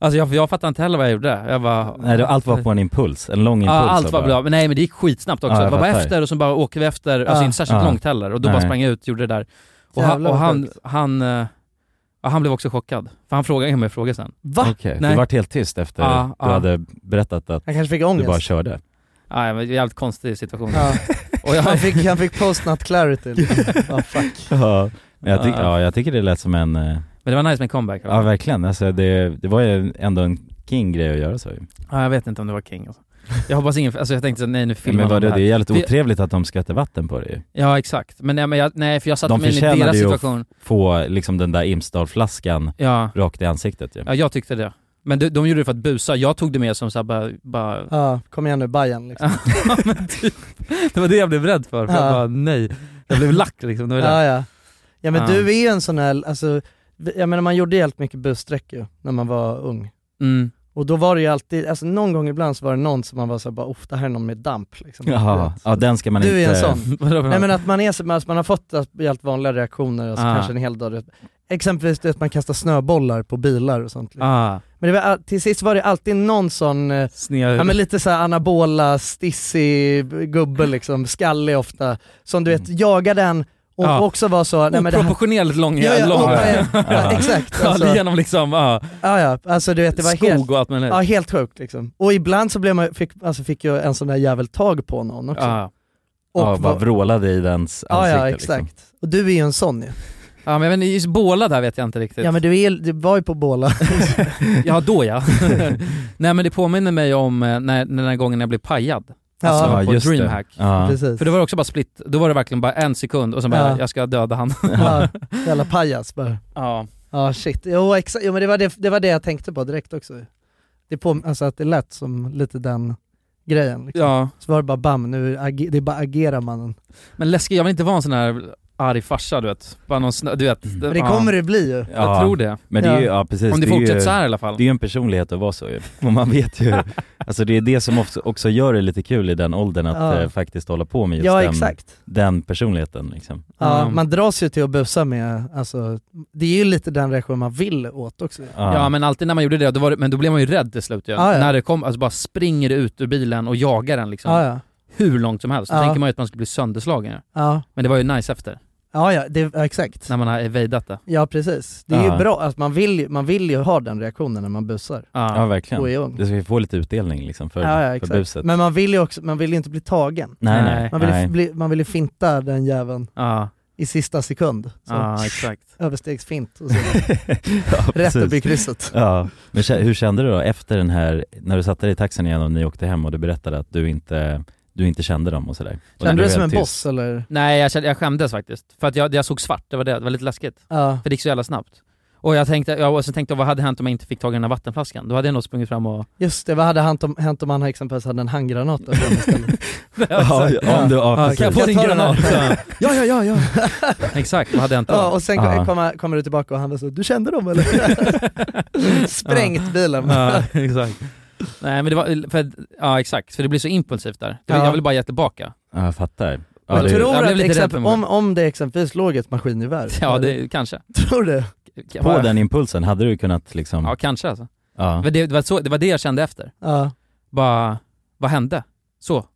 Alltså jag, jag fattade inte heller vad jag gjorde. Jag bara, Nej, det, allt var på en impuls, en lång Ja, impuls. allt var bara. bra. Men nej men det gick skitsnabbt också. Ja, det jag var bara fattar. efter och så bara åker vi efter, alltså Ja. inte särskilt Ja. långt heller. Och då bara Nej. sprang jag ut, gjorde det där. Och, han, Jävlar och vad han, sjukt. han, eh, ja, han blev också chockad. För han frågade mig frågor sen. Va? Okej, Nej. du vart helt tyst efter Ja, du ja. hade berättat att Han kanske fick du bara ångest. körde. Nej men jävligt konstig situation. Ja. Och jag, Han fick, han fick post-nut clarity. Liksom. Ja, fuck. Ja. Men jag, tyck, Ja. ja, jag tycker det lät som en, eh, men det var nice med comeback. ja verkligen, alltså det, det var ju ändå en king grej att göra så ju. Ja, jag vet inte om det var King alltså. Jag hoppas ingen, alltså jag tänkte så, nej nu filmar Men de vad det, här. det är jävligt Vi- otrevligt att de skrattar vatten på det ju. Ja exakt, men, nej, men jag, nej för jag satte De mig in i förtjänade deras ju att- situation. Få liksom den där Imsdal-flaskan Ja, rakt i ansiktet ju. ja, jag tyckte det. Men de, de gjorde det för att busa, jag tog det mer som såhär bara, bara Ja, kom igen nu, Bajen liksom. Ja, men typ. Det var det jag blev rädd för, för Ja. jag bara nej. Jag blev lack liksom, det var det. Ja, ja. ja men Ja. du är ju en sån här, alltså, jag menar man gjorde ju helt mycket bussträck ju när man var ung. Mm. Och då var det ju alltid, alltså någon gång ibland så var det någon som man var såhär bara, "Uff, det här är någon med damp liksom. Jaha, ja den ska man Du inte... är en sån. Vadå för- Nej men att man är så, alltså, man har fått helt vanliga reaktioner, alltså Ah. kanske en hel dag. du vet. Exempelvis du vet, man kastar snöbollar på bilar och sånt. Liksom. ah, Men det var, all- till sist var det alltid någon sån, eh, sned. ja men lite såhär anabola, stissig gubbe liksom, skallig ofta, som du vet jagade en och Ja. också var så, nej men det här Oproportionerligt lång, Ja, ja, lång och, ja. eh, ja, exakt. Alltså, genom liksom, ah, ja, ja, alltså du vet det var skog helt, och allt möjligt. ja, helt sjukt liksom. Och ibland så blev man, fick, alltså, fick ju en sån där jävel tag på någon också. Ah. Ja. och ja, bara var- vrålade i dens ja, ansikte ja liksom. exakt. Och du är ju en sån ju. ja, men jag vet inte, just båla där vet jag inte riktigt. Ja men du, är, du var ju på båla. Alltså, Ja, då ja. Nej men det påminner mig om eh, när, när den här gången jag blev pajad. Ja, Alltså, Ja, på just det. Dreamhack. Ja. precis. För det var också bara split, då var det verkligen bara en sekund och sen bara Ja. jag ska döda han. ja, jävla pajas bara. ja. Ja shit, jo exakt, jo men det var det, det var det jag tänkte på direkt också. Det på, alltså att det lät som lite den grejen liksom. ja. Så var det bara bam, nu age, det är bara agera mannen. Men läskigt, jag vill inte vara en sån här arg farsa du vet. Bara någon snö, du vet. Mm. Men det kommer det bli ju. Jag tror det. Men det är ju, Ja. ja precis. Om det, är ju- fortsätter så här i alla fall. Det är ju en personlighet att vara så ju. Och man vet ju, alltså det är det som också, också gör det lite kul i den åldern att Ja. eh, faktiskt hålla på med just Ja den, exakt. den personligheten liksom. Ja, Mm. man dras ju till att busa med, alltså, det är ju lite den reaktion man vill åt också. Ja. Ja men alltid när man gjorde det, då var det men då blev man ju rädd till slut ju. Ja, ja. När det kom, alltså bara springer det ut ur bilen och jagar den liksom. Ja, ja. Hur långt som helst. Då Ja. tänker man ju att man skulle bli sönderslagen ju. Ja, Men det var ju nice efter, ja, ja det, ja, exakt. när man har evejdat det. Ja precis. Det är Ja. ju bra, alltså, man, vill, ju- man vill ju ha den reaktionen när man busar ja Ja. verkligen. och är ung. Det ska ju få lite utdelning liksom för, Ja, ja, för exakt. buset. Men man vill ju också, man vill ju inte bli tagen. Nej Nej. nej, Man vill, ju nej. bli, man vill ju finta den jäveln Ja, i sista sekund. Så. ja exakt. Överstegsfint och så ja, rätt precis. upp i krysset. Ja, men kä- hur kände du då efter den här, när du satte dig i taxin igen och ni åkte hem och du berättade att du inte, du inte kände dem och sådär? Och Kände blev du dig som en helt tyst. boss eller? Nej jag, kände, jag skämdes faktiskt. För att jag, jag såg svart, det var det. Det var lite läskigt. Ja. För det gick så jävla snabbt. Och jag tänkte, ja, och sen tänkte jag vad hade hänt om jag inte fick tag i den här vattenflaskan? Då hade jag nog sprungit fram och... Just det, vad hade hänt om, hänt om han exempelvis hade en handgranat där framme istället? Ja, ja, om du, ja, Ja, kan jag precis. få din Jag tar den här. granat? Ja, ja, ja, ja. Exakt, vad hade hänt Ja, då? och sen Ja. kommer, kommer du tillbaka och han är så, du kände dem eller? Sprängt bilen. Ja, exakt. Nej men det var, för, ja exakt, för det blir så impulsivt där. Jag vill, Ja. jag vill bara ge tillbaka. Ja, jag fattar. Ja, Jag det, tror jag blev att lite rädd exempel, för mig. om, om det exempelvis låg ett maskingevär, Ja det, kanske. tror du? på den impulsen hade du kunnat liksom, Ja kanske alltså. ja. Men det, det, var så, det var det jag kände efter. Ja. Bara, vad hände? Så.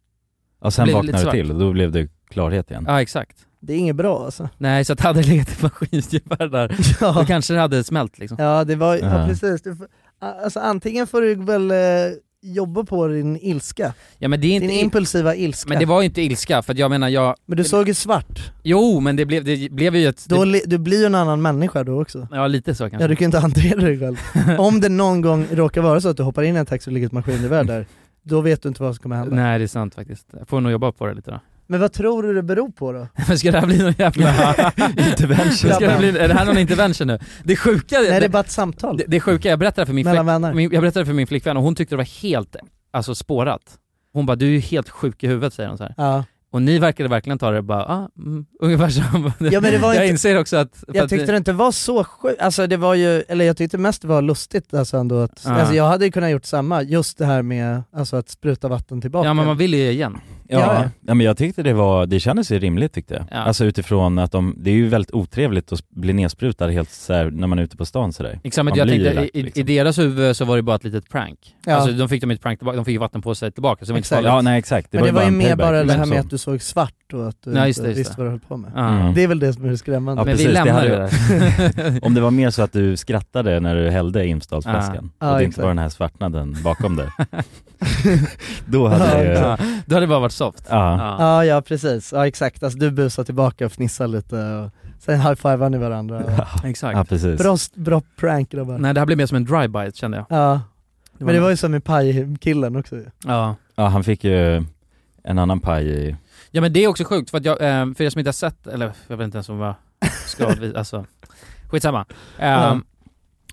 Och sen Blev lite vaknade du svart. till och då blev det klarhet igen. Ja exakt. Det är inget bra alltså. Nej, så att det hade legat ett maskingevär där, då Ja, kanske det hade smält liksom. ja det var, ja Ja. precis. Du får, alltså antingen får du väl eh, jobba på din ilska, Ja men det är din inte... impulsiva ilska. men det var ju inte ilska, för att jag menar jag... Men du såg ju svart, Jo, men det blev, det blev ju ett... då Det, li, du blir ju en annan människa då också. ja, lite så kanske. Ja du kan ju inte hantera dig själv. Om det någon gång råkar vara så att du hoppar in i en taxi och ligger ett maskingevär där, då vet du inte vad som kommer hända. Nej, det är sant faktiskt. Jag får nog jobba på det lite då. Men vad tror du det beror på då? Men ska det här bli någon jävla... intervention? Ska det bli, är det här någon intervention nu? Det sjuka... Nej det är det, bara ett samtal det, det sjuka, jag berättade för min, flick, mellan vänner. min, jag berättade för min flickvän och hon tyckte det var helt, alltså spårat. Hon bara 'du är ju helt sjuk i huvudet' säger hon så här. Ja. Och ni verkade verkligen ta det bara, ah, mm, ungefär som... Ja, men det var jag inte- inser också att... för Jag att tyckte det inte var så sjukt, alltså det var ju, eller jag tyckte mest det var lustigt alltså ändå att, Ja. alltså jag hade ju kunnat gjort samma, just det här med alltså att spruta vatten tillbaka. Ja men man vill ju igen. Ja. Ja, ja, men jag tyckte det var, det kändes ju rimligt tyckte jag. Ja. Alltså utifrån att de, det är ju väldigt otrevligt att bli nedsprutad helt så här, när man är ute på stan sådär. Exakt, men Man jag blir tänkte, ju lack, i, i liksom. deras huvud så var det bara ett litet prank. Ja. Alltså de fick de ett prank tillbaka, de fick ju vatten på sig tillbaka så det var inte Exakt. farligt. Ja, nej exakt. Det Men det var bara ju en mer payback, bara det här liksom. med att du såg svart och att du Ja, just inte det, just visste det. vad du höll på med. Ja. Mm. Det är väl det som är det skrämmande. Ja, Men precis, vi det lämnar hade det, ju- där. Om det var mer så att du skrattade när du hällde Imsdalsflaskan Ja. och Ja, det exakt. inte var den här svartnaden bakom dig. Då hade det ju... ja. Då hade det bara varit soft. Ja. Ja ja precis, ja exakt. Alltså du busar tillbaka och fnissar lite och sen high-fivar ni varandra. Exakt. Ja, precis. Bra, bra prank grabbar. Nej det här blev mer som en drive-by kände jag. Ja. Men det var ju som med pajkillen också ju. ja. Ja, han fick ju en annan paj i... ja men det är också sjukt för att jag, eh, för er som inte har sett, eller jag vet inte ens om jag ska, vi- alltså skitsamma. Eh, Ja.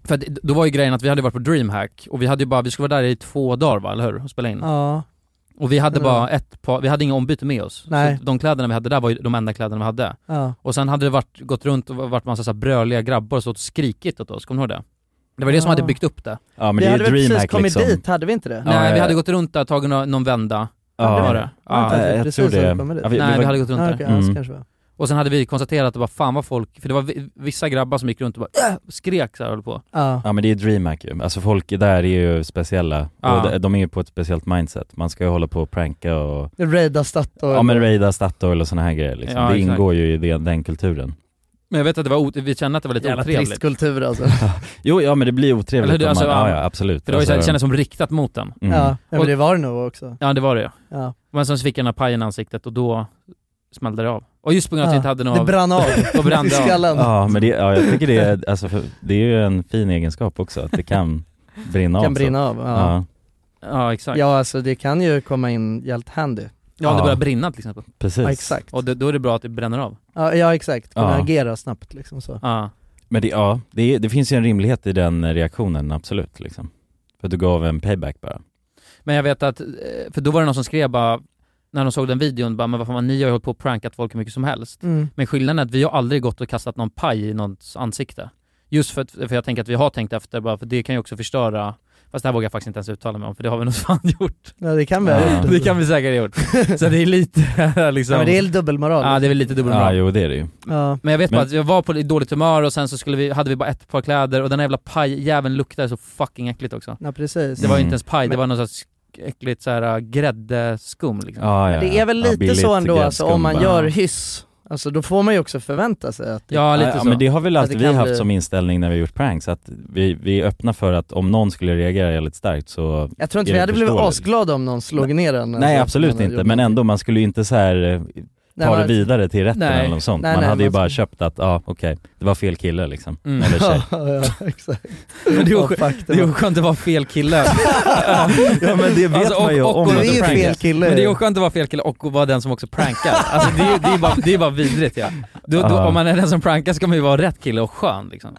För att då var ju grejen att vi hade varit på DreamHack och vi hade ju bara, vi skulle vara där i två dagar va, eller hur? Och spela in. Ja, Och vi hade Mm. bara ett par, vi hade inga ombyte med oss. Nej. Så de kläderna vi hade där var ju de enda kläderna vi hade. ja. Och sen hade det varit, gått runt och varit massa så här bröliga grabbar och stått och skrikit åt oss, kommer ni ihåg det? Det var det som Ja. hade byggt upp det. Ja men vi det är ju hade väl precis DreamHack kommit liksom. dit, hade vi inte det? Ja, Nej, ja, vi ja. hade gått runt där, tagit någon, någon vända. Ja, Det var det. Var Ja. inte jag Precis tror det. när vi kom dit. Ja, vi, Nej, vi hade gått runt Ja, där. okej, ja, så Mm. kanske det var. Och sen hade vi konstaterat att bara, fan vad folk, för det var vi- vissa grabbar som gick runt och bara "Äh!" skrek så här, höll på. Ja. Ja men det är ju DreamHack ju, alltså folk där är ju speciella, Ja. och de- de är ju på ett speciellt mindset, man ska ju hålla på och pranka och Raida Statoil. Ja men raida Statoil och såna här grejer liksom. Ja, det exakt. ingår ju i den, den kulturen Men jag vet att det var, ot- vi kände att det var lite Jävla otrevligt. trist För kultur alltså. Mm. Jo ja men det blir otrevligt Eller hur? om Alltså, man, ja, ja. ja absolut det var ju så här, det Alltså, kändes som riktat mot den. mm. Ja, men Och- det var det nog också. Ja det var det ju. Ja. Men sen så fick jag den här pajen i ansiktet och då smällde det av. Och just på grund av att jag Ja. inte hade Det någon... brann av Då brann i det av. skallen. ja men det, ja, jag tycker det är, alltså, för, det är ju en fin egenskap också, att det kan brinna av Kan så. brinna av. Ja. Ja, Ja exakt. ja alltså det kan ju komma in jävligt handy. Ja, det Ja. börjar brinna till exempel. precis Ja exakt. Och då, då är det bra att det bränner av. Ja, ja exakt, kunna Ja. agera snabbt liksom så. Ja. Men det, ja, det, är, det finns ju en rimlighet i den reaktionen, absolut liksom För att du gav en payback Mm. bara Men jag vet att, eh, för då var det någon som skrev bara, när de såg den videon, bara men vad fan, ni har ju hållit på och prankat folk hur mycket som helst. Mm. Men skillnaden är att vi har aldrig gått och kastat någon paj i någons ansikte. Just för, att- för jag tänker att vi har tänkt efter bara, för det kan ju också förstöra, fast det här vågar jag faktiskt inte ens uttala mig om, för det har vi nog fan gjort. Ja det kan vi ha Ja. gjort. Det kan vi säkert ha gjort. Så det är lite liksom... ja, men det är dubbelmoral. ja, det är väl lite Ja dubbelmoral. jo det är det ju Ja. Men jag vet Men- bara att jag var på dåligt humör och sen så skulle vi, hade vi bara ett par kläder och den här jävla pajjäveln luktade så fucking äckligt också. ja precis. Det var ju Mm. inte ens paj, det Men- var någon sorts äckligt så här äh, gräddskum liksom. ja, ja, Det är väl ja, lite billigt så ändå gräddskum alltså, om man bara. gör hyss, alltså då får man ju också förvänta sig att Typ. Ja, lite ja, så. men det har väl Att alltid det vi kan haft bli- som inställning när vi gjort pranks, att vi, vi är öppna för att om någon skulle reagera jävligt starkt så Jag tror inte Är vi det hade blivit förståeligt? asglada om någon slog ner en Nej alltså, absolut man hade inte, gjort men någonting. ändå man skulle ju inte så här eh, ta Nej, det vidare till rätten Nej. eller något sånt. Nej, man nej, hade ju man bara ska- köpt att, ja okej, det var fel kille liksom. Mm. Eller tjej. Ja, ja, exakt. Men det är Ja, oskönt- fuck, det är var- oskönt att vara fel kille. ja men det vet Alltså, och- man ju och- om. och- att det är ju prank fel kille. Men det är oskönt att vara fel kille och att vara den som också prankar. Alltså det är ju det är bara, det är bara vidrigt ja. Då, då, Ja. om man är den som prankar ska man ju vara rätt kille och skön liksom.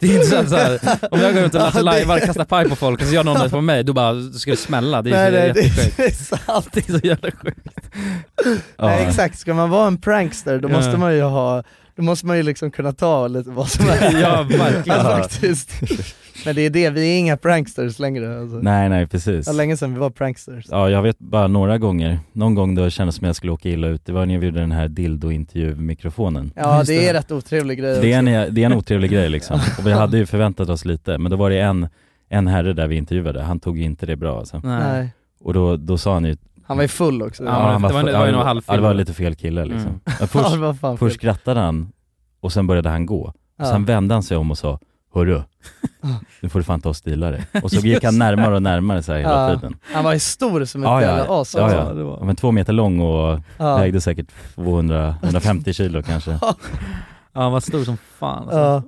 Det är inte så att så här, om jag går runt och lattjo lajvar och kastar paj på folk och så gör någon det på mig, då bara då ska det smälla. Det är Nej, nej, ju det jättesjukt. är sant. Det är så jävla sjukt. Ja. Nej, exakt, ska man vara en prankster då Ja. måste man ju ha, då måste man ju liksom kunna ta lite vad som är. Ja verkligen. Alltså, faktiskt. Men det är det, vi är inga pranksters längre alltså. Nej nej precis. Det var länge sedan vi var pranksters. Ja jag vet bara några gånger, någon gång då det kändes som jag skulle åka illa ut, det var när vi gjorde den här dildo-intervju-mikrofonen. Ja Just det är det. rätt otrevlig grej Det är, också. en, det är en otrevlig grej liksom. Och vi hade ju förväntat oss lite, men då var det en, en herre där vi intervjuade, han tog ju inte det bra alltså. Nej. Nej. Och då, då sa han ju Han var ju full också. Ja, men han det var- det var ju ja, någon halvfilm. ja, det var lite fel kille liksom. Mm. Men först, Ja, vad fan först skrattade han och sen började han gå. Och sen vände han sig om och sa Hörru, nu får du fan ta och stila dig. Och så gick han närmare och närmare så här hela Ja. tiden. Han var ju stor som ett Ja, ja, jävla ja. as Ja, alltså. ja. Ja, Men två meter lång och Ja. vägde säkert 200, 150 kilo kanske. Ja, han var stor som fan alltså. Ja.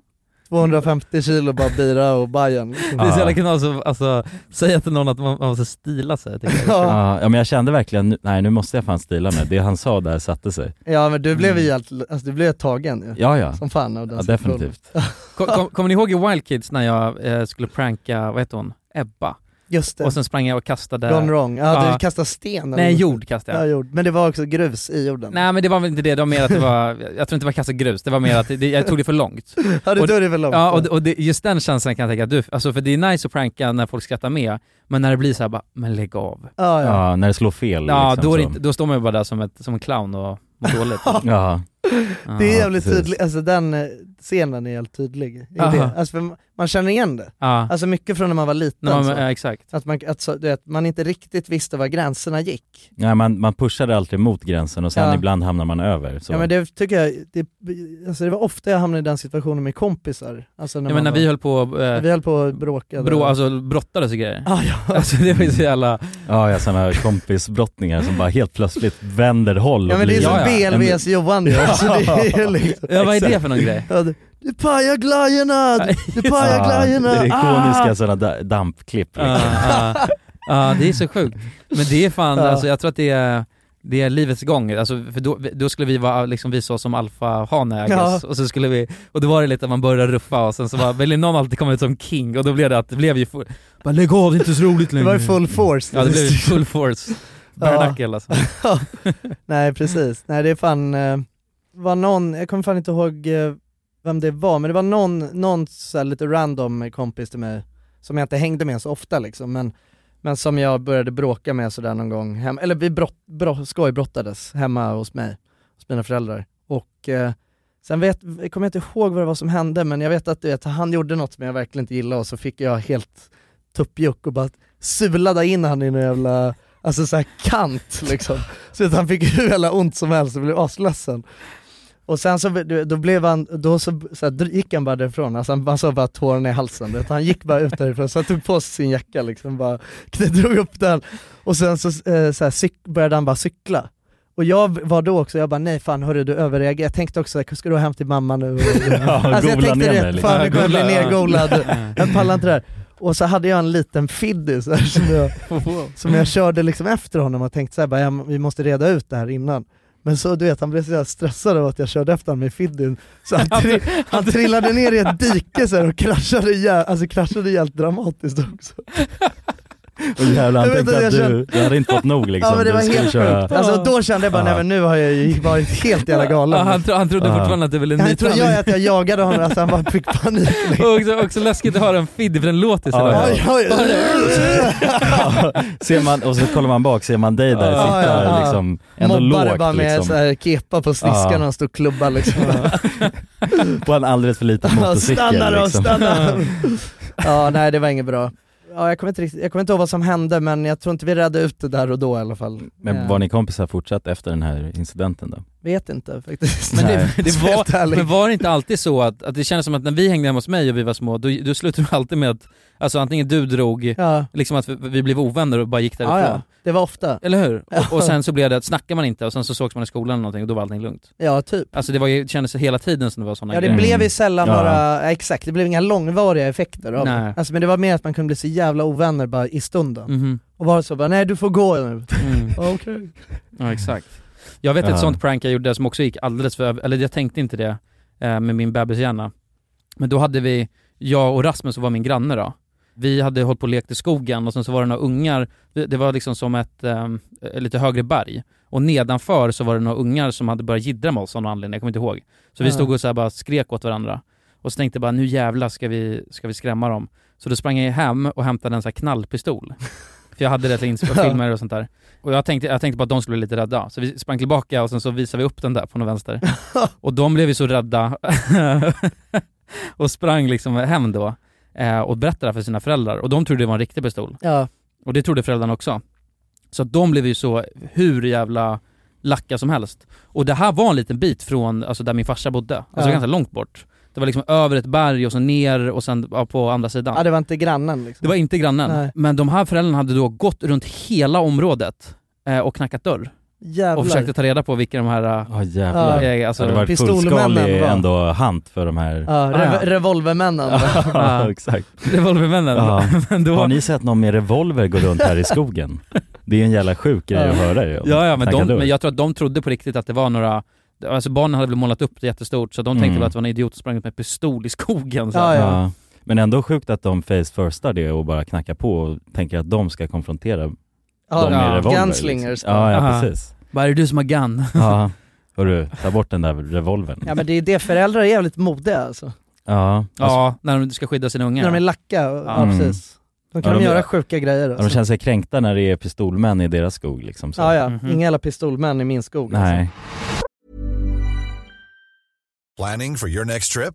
250 kilo bara bira och Bajen. Det är så Ja. jävla knas att alltså, säga till någon att man, man måste stila sig. typ. tycker jag. Ja. Ja, ja men jag kände verkligen, nu- nej nu måste jag fan stila mig. Det han sa där satte sig. ja men du blev ju helt, alltså du blev tagen ju. Mm. Ja ja, Som fan av den ja som definitivt. Kom- kom- Kommer ni ihåg i Wild Kids när jag eh, skulle pranka, vad heter hon, Ebba? full. Just det, Och sen sprang jag och kastade... gone wrong. Ja, Ja. du kastade sten eller Nej, något. jord kastade jag. Ja, jord. Men det var också grus i jorden. Nej men det var väl inte det, det var mer att det var, jag tror inte det var kasta grus, det var mer att det, jag tog det för långt. Ja det och- tog det för långt. Ja och, och det, just den känslan kan jag tänka att du, alltså för det är nice att pranka när folk skrattar med, men när det blir så här bara, men lägg av. ja, ja. Ja, när det slår fel Ja, liksom, då, är det så. inte, då står man ju bara där som, ett, som en clown och mår dåligt. Ja, Ja. Det är jävligt precis. tydligt, alltså den eh, scenen är helt tydlig. i Aha. Det. Alltså, för man- man känner igen det. Ja, Alltså mycket från när man var liten. när man, så. ja, exakt. Att, man, att, så, du vet, man inte riktigt visste var gränserna gick. nej, man, man pushade alltid mot gränsen och sen Ja. ibland hamnar man över. Så. Ja men det tycker jag, det, alltså det var ofta jag hamnade i den situationen med kompisar. Alltså när Ja, men när man vi var, höll på när eh, vi höll på och bråkade. bro, alltså, brottades och grejer. ah, ja. Alltså det var ju så jävla... Ja, jag har sådana kompisbrottningar som bara helt plötsligt vänder håll ja och men det är blir... som Ja, ja. BLVs Johan ju. Alltså, det är ju liksom, Ja, vad är det för någon grej? ja, du- du pajar glajjorna! Du, du pajar Ja, det glajjorna! är ikoniska Ah! sådana dampklipp. Ja, Liksom. ja. Ja, det är så sjukt. Men det är fan, Ja. alltså, jag tror att det är, det är livets gång. Alltså, för då, då skulle vi vara liksom, visa oss som alfahanar, I guess. och så skulle vi, och då var det lite att man började ruffa och sen så bara, ville någon alltid komma ut som king och då blev det att, det blev ju full, bara lägg av, det är inte så roligt Det längre. var ju full force. Ja det blev ju full force. Bare Ja. knuckle alltså. Nej precis, nej det är fan, eh, var någon, jag kommer fan inte ihåg eh, vem det var, men det var någon, någon så här lite random kompis till mig som jag inte hängde med så ofta liksom, men, men som jag började bråka med sådär någon gång, hem, eller vi brott, brott, skojbrottades hemma hos mig, hos mina föräldrar. Och eh, sen vet, jag kommer jag inte ihåg vad det var som hände, men jag vet att du vet, han gjorde något som jag verkligen inte gillade och så fick jag helt tuppjuck och bara sulade in han i någon jävla, alltså såhär kant liksom. Så att han fick hur jävla ont som helst och blev asledsen. Och sen så, du- då blev han, då så, så här, gick han bara därifrån, alltså han, man såg bara tårarna i halsen, du vet. han gick bara ut därifrån, så han tog på sig sin jacka liksom, bara drog upp den och sen så, eh, så här, cyk- började han bara cykla. Och jag var då också, jag bara nej fan hörru du överreagerar, jag tänkte också ska du hem till mamma nu? Ja, alltså jag gola tänkte ner mig liksom. det, lite. fan nu kommer jag bli Ja, gola, nergolad, jag pallar inte det här. Och så hade jag en liten fiddy så här, som jag som jag körde liksom efter honom och tänkte så här, bara, ja, men vi måste reda ut det här innan. Men så du vet, han blev så jävla stressad av att jag körde efter honom med fiddyn, så han, tri- han trillade ner i ett dike så här, och kraschade, jä- alltså, kraschade helt dramatiskt också. Och jävlar, han Jag vet tänkte att att du, jag du hade inte fått nog liksom. ja men det Du var skulle helt köra- sjukt. Alltså, då kände jag bara, Ja. nej men nu har jag ju varit helt jävla Ja, galen. han, tro, han trodde Ja. fortfarande att det ville Han nypa tror jag att jag jagade honom, alltså han bara fick panik. liksom. Och också, också läskigt att höra en fidd för den låter så Ja, ja, ja. Oj, oj, oj. Ja, ser man, och så kollar man bak, ser man dig där Ja, sitta ja, ja. liksom, ändå Mobbade lågt bara med liksom, så här, kepa på sniskan Ja. och en stor klubba liksom. på en alldeles för liten motorcykel. stanna då, liksom. stanna! ja, nej det var inget bra. Ja, jag, kommer inte riktigt, jag kommer inte ihåg vad som hände men jag tror inte vi redde ut det där och då i alla fall. Men Eh, var ni kompisar fortsatt efter den här incidenten då? Vet inte faktiskt. Men, det, Nej. det Så helt var, ärligt. men var det inte alltid så att, att det kändes som att när vi hängde hemma hos mig och vi var små, då, då slutade det alltid med att alltså, antingen du drog, Ja, liksom att vi, vi blev ovänner och bara gick därifrån. ja, ja. det var ofta. Eller hur? Ja. Och, och sen så blev det att snackar man inte och sen så sågs man i skolan eller någonting och då var allting lugnt. Ja, typ. Alltså det, var ju, det kändes hela tiden som det var sådana Ja det grejer. blev ju sällan Ja. bara, ja, exakt, det blev inga långvariga effekter av Nej. det. Alltså, men det var mer att man kunde bli så jävla ovänner bara i stunden. Mhm. Och vara så bara, nej du får gå nu. Mm. Okej. Ja exakt. Ehm. Jag vet Ja. ett sånt prank jag gjorde som också gick alldeles för över- eller jag tänkte inte det eh, med min bebishjärna. Men då hade vi, jag och Rasmus som var min granne då, vi hade hållit på och lekt i skogen och sen så var det några ungar, det det var liksom som ett eh, lite högre berg. Och nedanför så var det några ungar som hade börjat jiddra med oss av någon anledning, jag kommer inte ihåg. Så vi Ja. stod och så här bara skrek åt varandra. Och så tänkte jag bara nu jävlar ska vi, ska vi skrämma dem. Så då sprang jag hem och hämtade en sån här knallpistol. För jag hade det till ins- filmer och sånt där. Och jag tänkte, jag tänkte på att de skulle bli lite rädda. Så vi sprang tillbaka och sen så visade vi upp den där på någon vänster. och de blev ju så rädda. och sprang liksom hem då. Eh, och berättade för sina föräldrar. Och de trodde det var en riktig pistol. Ja, Och det trodde föräldrarna också. Så att de blev ju så hur jävla lacka som helst. Och det här var en liten bit från alltså, där min farsa bodde, alltså Ja. ganska långt bort. Det var liksom över ett berg och så ner och sen ja, på andra sidan. Ja det var inte grannen liksom. Det var inte grannen. Nej. Men de här föräldrarna hade då gått runt hela området eh, och knackat dörr Jävlar. och försökte ta reda på vilka de här... Ja jävlar. Ja. eh, alltså, Så det var en Pistolmännen fullskalig var- ändå hunt för de här... Ja, Ah, rev- ja. revolvermännen. ja, exakt. revolvermännen. Ja. Men då, Har ni sett någon med revolver gå runt här i skogen? Det är en jävla sjuk grej att höra ju. om ja, ja, men, de, tankador. men jag tror att de trodde på riktigt att det var några Alltså barnen hade väl målat upp det jättestort så de tänkte Mm. väl att det var en idiot som sprang ut med pistol i skogen så. Ja, ja. Ja. Men ändå sjukt att de face firstar det och bara knackar på och tänker att de ska konfrontera Ja, dem med ja. revolver. Gunslingers. Liksom. Ja, ja Aha. precis. Bara är det du som har gun? Ja. Hörru, ta bort den där revolvern. Ja men det är det, föräldrar är jävligt modiga alltså. Ja. Alltså, Ja, när de ska skydda sina ungar. När de är lacka, ja Mm. precis. Då kan Ja, de de- göra sjuka grejer De alltså. känner sig kränkta när det är pistolmän i deras skog liksom. Så. Ja ja, Mhm. inga jävla pistolmän i min skog. alltså. Nej. Planning for your next trip?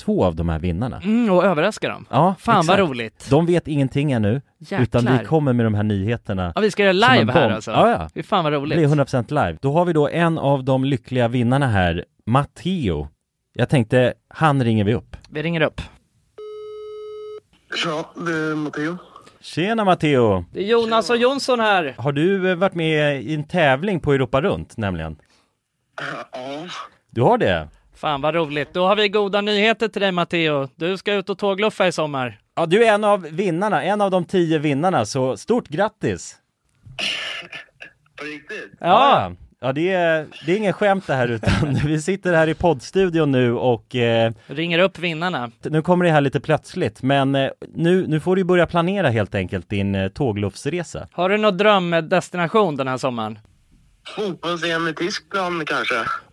två av de här vinnarna. Mm, och överraska dem. Ja, Fan vad exakt. roligt. De vet ingenting ännu, Jäklar. utan vi kommer med de här nyheterna Ja, vi ska göra som en live här bomb. alltså. Ja, ja. Fy fan vad Det blir roligt. 100% live. Då har vi då en av de lyckliga vinnarna här, Matteo. Jag tänkte, han ringer vi upp. Vi ringer upp. Ja, det är Matteo. Tjena Matteo! Det är Jonas och Alltså, Jonsson här. Har du eh, varit med i en tävling på Europa runt nämligen? Ja, Du har det? Fan vad roligt. Då har vi goda nyheter till dig Matteo. Du ska ut och tågluffa i sommar. Ja, du är en av vinnarna, en av de tio vinnarna, så stort grattis! på riktigt? Ja! Ja, det är, det är ingen skämt det här utan vi sitter här i poddstudion nu och eh, Ringer upp vinnarna. nu kommer det här lite plötsligt men eh, nu, nu får du börja planera helt enkelt din eh, tågluffsresa. Har du någon drömdestination den här sommaren? Fotbolls-EM i Tyskland kanske?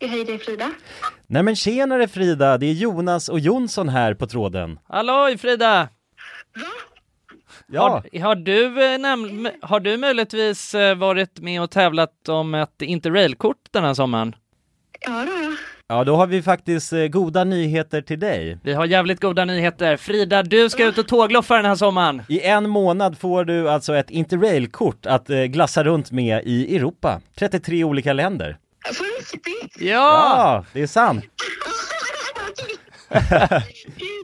Hej, det är Frida. Nej men tjenare Frida, det är Jonas och Jonsson här på tråden. Halloj Frida! Ja, Har, har, du, eh, näm- m- har du möjligtvis eh, varit med och tävlat om ett interrailkort den här sommaren? Ja, då, ja. ja då har vi faktiskt eh, goda nyheter till dig. Vi har jävligt goda nyheter. Frida, du ska ut och tågloffa den här sommaren. I en månad får du alltså ett interrailkort att eh, glassa runt med i Europa, 33 olika länder. Får du riktigt? Ja! det är sant!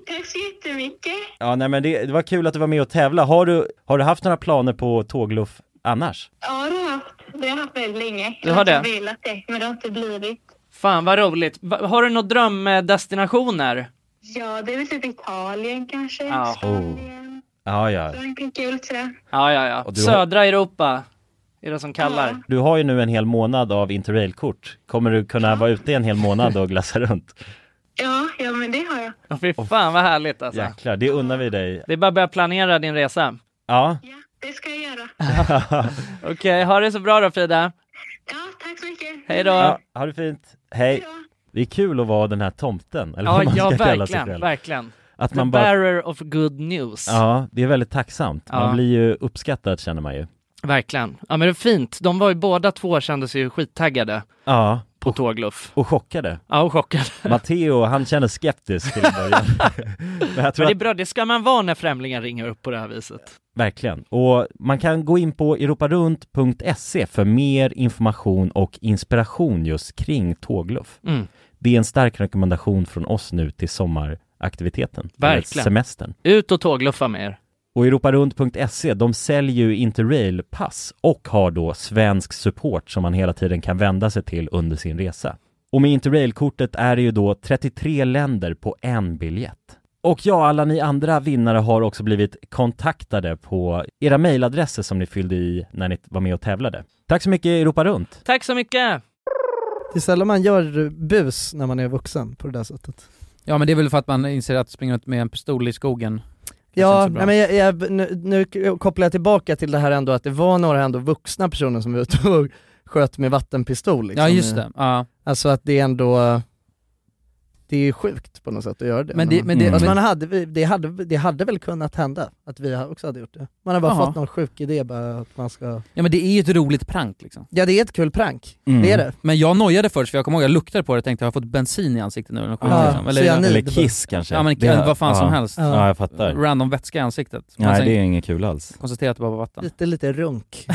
Tack så jättemycket. Ja, nej men det, det var kul att du var med och tävla. Har du, har du haft några planer på tågluff annars? Ja, det har jag haft. Det har jag haft väldigt länge. Du har det? Jag har velat det, men det har inte blivit. Fan vad roligt. Va- Har du några drömdestinationer? Ja, det är väl typ Italien kanske. Ja. Spanien. Ja, ja. Frankrike, tror jag. Ja, ja, ja. Och du har- Södra Europa är det som kallar. Du har ju nu en hel månad av interrailkort. Kommer du kunna vara ute en hel månad och glassa runt? Ja, ja, men det har jag. Ja. Fy fan vad härligt alltså. Jäklar, det unnar vi dig. Det är bara att börja planera din resa. Ja, Ja, det ska jag göra. Okej, ha det så bra då Frida. Ja, tack så mycket. Hej då. ja ha det fint. Hej. Hej då. Det är kul att vara den här tomten, eller Ja, vad man ja ska kalla sig verkligen, själv. verkligen. Att The man bara, bearer of good news. ja, det är väldigt tacksamt. Ja. Man blir ju uppskattad känner man ju. Verkligen. Ja men det är fint. De var ju båda två kände sig ju skittaggade Ja, på tågluff. och chockade. Ja och chockade. Matteo, han känner skeptisk till en början. Men jag tror Men det är att, bra, det ska man vara när främlingar ringer upp på det här viset. verkligen. Och man kan gå in på europarunt.se E för mer information och inspiration just kring tågluff. Mm. Det är en stark rekommendation från oss nu till sommaraktiviteten. eller Verkligen. Semestern. Ut och tågluffa med er. Och europarunt.se, E, de säljer ju Interrail-pass och har då svensk support som man hela tiden kan vända sig till under sin resa. Och med Interrail-kortet är det ju då 33 länder på en biljett. Och ja, alla ni andra vinnare har också blivit kontaktade på era mejladresser som ni fyllde i när ni var med och tävlade. Tack så mycket Europa Runt! Tack så mycket! Det är sällan man gör bus när man är vuxen på det där sättet. Ja men det är väl för att man inser att springa runt med en pistol i skogen kanske inte är Ja, så bra. nej, men jag, jag, nu, nu kopplar jag tillbaka till det här ändå att det var några ändå vuxna personer som var ute och sköt med vattenpistol. Liksom. Ja just det, ja. Alltså att det är ändå, det är ju sjukt på något sätt att göra det. Men det, men det, Mm. Alltså men, man hade, det, hade, det hade väl kunnat hända att vi också hade gjort det. Man har bara Jaha. fått någon sjuk idé bara att man ska... ja men det är ju ett roligt prank liksom. Ja det är ett kul prank, Mm. det är det. Men jag nojade först för jag kommer ihåg jag luktade på det och tänkte har jag fått bensin i ansiktet nu eller något skit, Ja, liksom. eller, cyanid. Eller Kiss kanske? Ja men Det är- vad fan som ja. helst. alltså- Ja. Ja, jag fattar. Random vätska i ansiktet. Men Nej, sen det är inget kul alls. konstaterar att det bara var vatten. Lite, lite runk.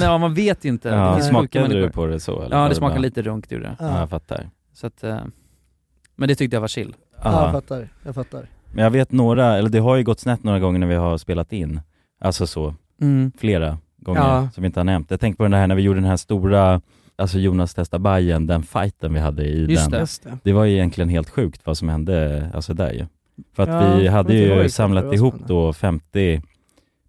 ja man vet inte. Det Ja, finns sjuka smakade du människor. på det så? Eller? Ja Var det bara- smakade lite runt gjorde det. Ja, ja. jag fattar. Så att, eh, men det tyckte jag var chill. ja, jag Ja. fattar. Jag fattar. Men jag vet några, eller det har ju gått snett några gånger när vi har spelat in, alltså så, Mm. flera gånger Ja. som vi inte har nämnt. Jag tänkte på den här när vi gjorde den här stora, alltså Jonas testar Bajen, den fighten vi hade i Just den. det. Just det. Det var ju egentligen helt sjukt vad som hände, alltså där ju. För att Ja, vi jag hade kommer inte ihåg ju exakt samlat vad det var ihop som då 50,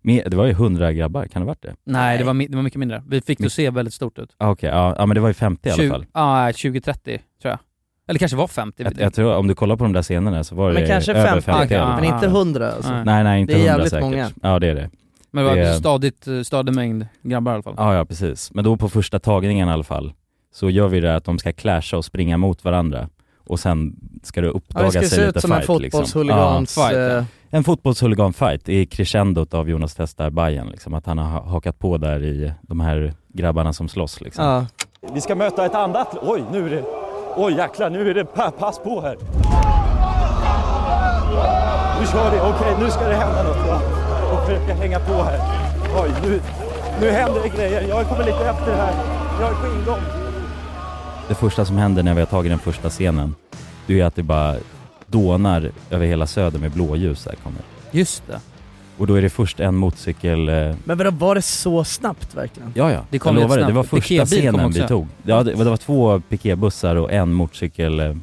mer- det var ju 100 grabbar, kan det ha varit det? Nej det var, mi- det var mycket mindre. Vi fick det att se väldigt stort ut. Ah, Okej, ja, ja men det var ju 50 i alla fall. Ja, 20-30 tror jag. Eller kanske var 50. Jag, jag tror, om du kollar på de där scenerna så var Men det kanske över 50, 50, i alla ja. fall. Men inte hundra alltså. Nej. Nej nej, inte Det är 100 jävligt säkert. många. Ja det är det. Men det var Det- stadigt, eh, stadig mängd grabbar i alla fall. Ja, ja precis. Men då på första tagningen i alla fall så gör vi det att de ska clasha och springa mot varandra och sen ska det Ja, det uppdaga ska sig se ut lite som en fight liksom. fotbollshuligans... Ja, fight, eh, Ja, en fotbollshuligan-fight i crescendot av Jonas Testar Bayern liksom, att han har ha- hakat på där i de här grabbarna som slåss liksom. ja. Vi ska möta ett annat... Oj, nu är det... Oj, jäklar, nu är det pa- pass på här. Nu kör vi. Okej, nu ska det hända något. Jag får försöka hänga på här. Oj, nu, nu händer det grejer. Jag kommer lite efter här. Jag är på ingång. Det första som händer när vi har tagit den första scenen, det är att det bara dånar över hela söder med blåljus här kommer. Just det. Och då är det först en motorcykel... eh, Men vadå, var det så snabbt verkligen? Ja, ja. Det kom jag rätt lovar det. Det snabbt. var första Piketbil kom scenen också. vi tog. Ja, det, det var två piketbussar och en motorcykel eh,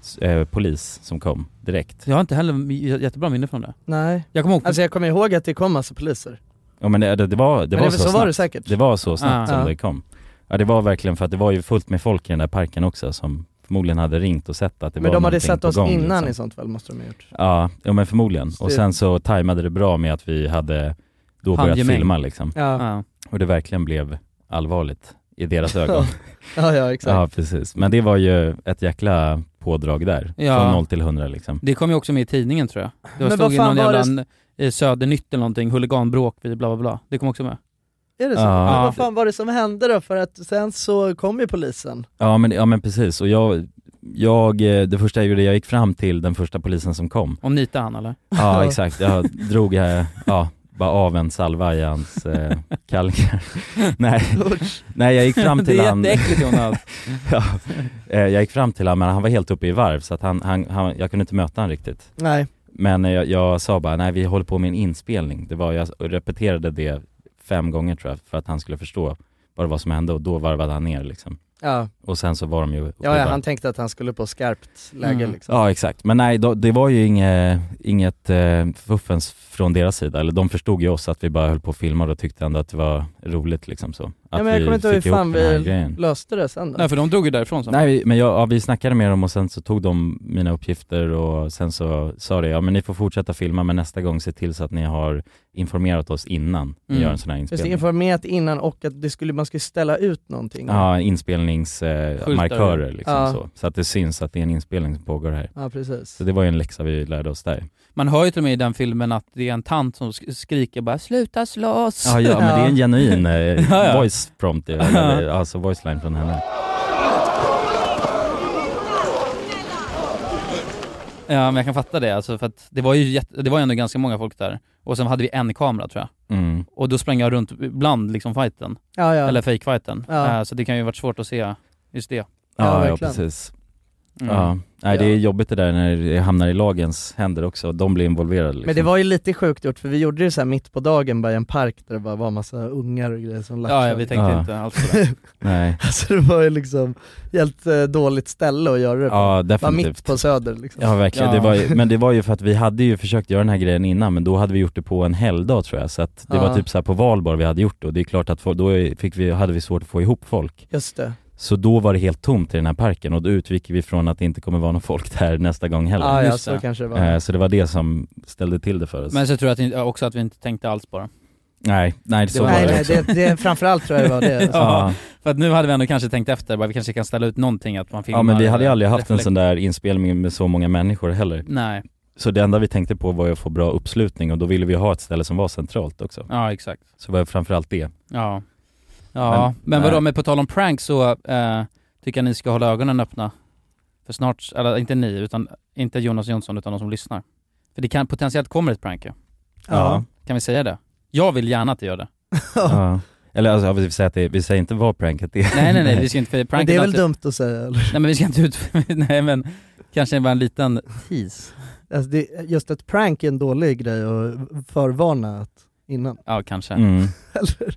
s- eh, polis som kom direkt. Jag har inte heller j- jättebra minne från det. Nej. Jag kommer ihåg... Alltså jag kommer ihåg att det kom massa poliser. Ja men det, det, det var, det Men var det, så, så snabbt. var det säkert. Det var så snabbt Ah. som Ja. det kom. Ja det var verkligen för att det var ju fullt med folk i den där parken också som förmodligen hade ringt och sett att det Men var de hade någonting sett på oss gång, innan liksom. i sånt fall måste de ha gjort. Ja, ja men förmodligen. Och det- sen så tajmade det bra med att vi hade då börjat Handgemäng. filma liksom. Ja, ja. Och det verkligen blev allvarligt i deras ögon. ja, ja exakt. Ja precis, men det var ju ett jäkla pådrag där, Ja. från 0 till 100 liksom. Det kom ju också med i tidningen tror jag. Det Men stod vad i fan någon var jävla det- n- i Södernytt eller någonting, huliganbråk vid bla bla bla. Det kom också med. Är det så? Ja. Men vad fan var det som hände då? För att sen så kom ju polisen. Ja men, ja, men precis, och jag, jag, eh, det första jag gjorde, jag gick fram till den första polisen som kom. Om nita han eller? Ja exakt, jag drog, eh, ja, Bara av en salva i hans eh, kalkar. Nej. Nej, jag gick fram till Det är han... jätteäckligt, Jonas. ja. Eh, Jag gick fram till han, men han var helt uppe i varv så att han, han, han, jag kunde inte möta han riktigt. Nej. Men eh, jag, jag sa bara, nej vi håller på med en inspelning. Det var, jag repeterade det fem gånger tror jag, för att han skulle förstå vad det var som hände och då varvade han ner liksom. Ja. Och sen så var de ju uppe i Ja, ja, varv. han tänkte att han skulle på skarpt läge Mm. liksom. Ja exakt, men nej då, det var ju inget, inget eh, fuffens från deras sida, eller de förstod ju oss att vi bara höll på och filmade och tyckte ändå att det var roligt liksom så. Att Ja, men jag vi kommer inte ihåg hur fick ihop fan den här vi grejen. löste det sen då. Nej för de drog ju därifrån sen. Nej vi- men jag, ja, vi snackade med dem och sen så tog de mina uppgifter och sen så sa det, ja men ni får fortsätta filma men nästa gång se till så att ni har informerat oss innan ni Mm. gör en sån här Just det, inspelning. informerat innan och att det skulle, man skulle ställa ut någonting. Ja, inspelningsmarkörer Skyltar. eh, markörer, liksom Ja. så. Så att det syns att det är en inspelning som pågår här. Ja, precis. Så det var ju en läxa vi lärde oss där. Man hör ju till och med i den filmen att det är en tant som sk- skriker bara 'sluta slåss' Ja, ja, men det är en genuin eh, Ja, ja. voice prompt, eh, eller, alltså voice line från henne. Ja men jag kan fatta det alltså, för att det var ju jätte, det var ju ändå ganska många folk där. Och sen hade vi en kamera tror jag. Mm. Och då sprang jag runt bland liksom fighten. Ja, ja. Eller fake-fighten. Ja. Eh, Så det kan ju varit svårt att se just det. Ja, ja, verkligen. precis. Mm. Ja. Nej, det är jobbigt det där när det hamnar i lagens händer också, de blir involverade liksom. Men det var ju lite sjukt gjort för vi gjorde det så här mitt på dagen bara i en park där det bara var massa ungar och grejer som latchade. Ja, ja, vi tänkte inte alls på det. Nej. Alltså det var ju liksom helt eh, dåligt ställe att göra det på. Ja, Bara definitivt. mitt på söder liksom. Ja verkligen, Ja. Det var ju, men det var ju för att vi hade ju försökt göra den här grejen innan men då hade vi gjort det på en helgdag tror jag så att det Ja. var typ så här på valborg vi hade gjort det och det är klart att folk- då fick vi, hade vi svårt att få ihop folk. Just det. Så då var det helt tomt i den här parken och då utgick vi från att det inte kommer vara någon folk där nästa gång heller. Ja, ja, Just så det. kanske det var. Eh, Så det var det som ställde till det för oss. Men så tror jag att, inte- också att vi inte tänkte alls på det. Nej, nej så var nej, det nej, också. det, det, framförallt tror jag det var det. Alltså. Ja. För att nu hade vi ändå kanske tänkt efter, bara, vi kanske kan ställa ut någonting att man filmar Ja men vi hade ju eller aldrig haft en reflekt- sån där inspelning med så många människor heller. Nej. Så det enda vi tänkte på var ju att få bra uppslutning och då ville vi ha ett ställe som var centralt också. Ja, exakt. Så var det framförallt det. Ja. Ja, men, Men- vadå, nej. med på tal om prank så eh, tycker jag ni ska hålla ögonen öppna. För snart, eller inte ni, utan inte Jonas Jonsson, utan de som lyssnar. För det kan potentiellt kommer ett prank ju. Ja. Kan vi säga det? Jag vill gärna att du gör det. Ja. Eller alltså, ja, vi säger, att det, vi säger inte vad pranket är. Nej nej nej, vi ska inte... för Men pranket det är väl alltid- dumt att säga eller? Nej men vi ska inte ut... nej men, kanske bara en liten tease. Alltså, det, just ett prank är en dålig grej att förvarna att, innan. Ja, kanske. Mm. Eller?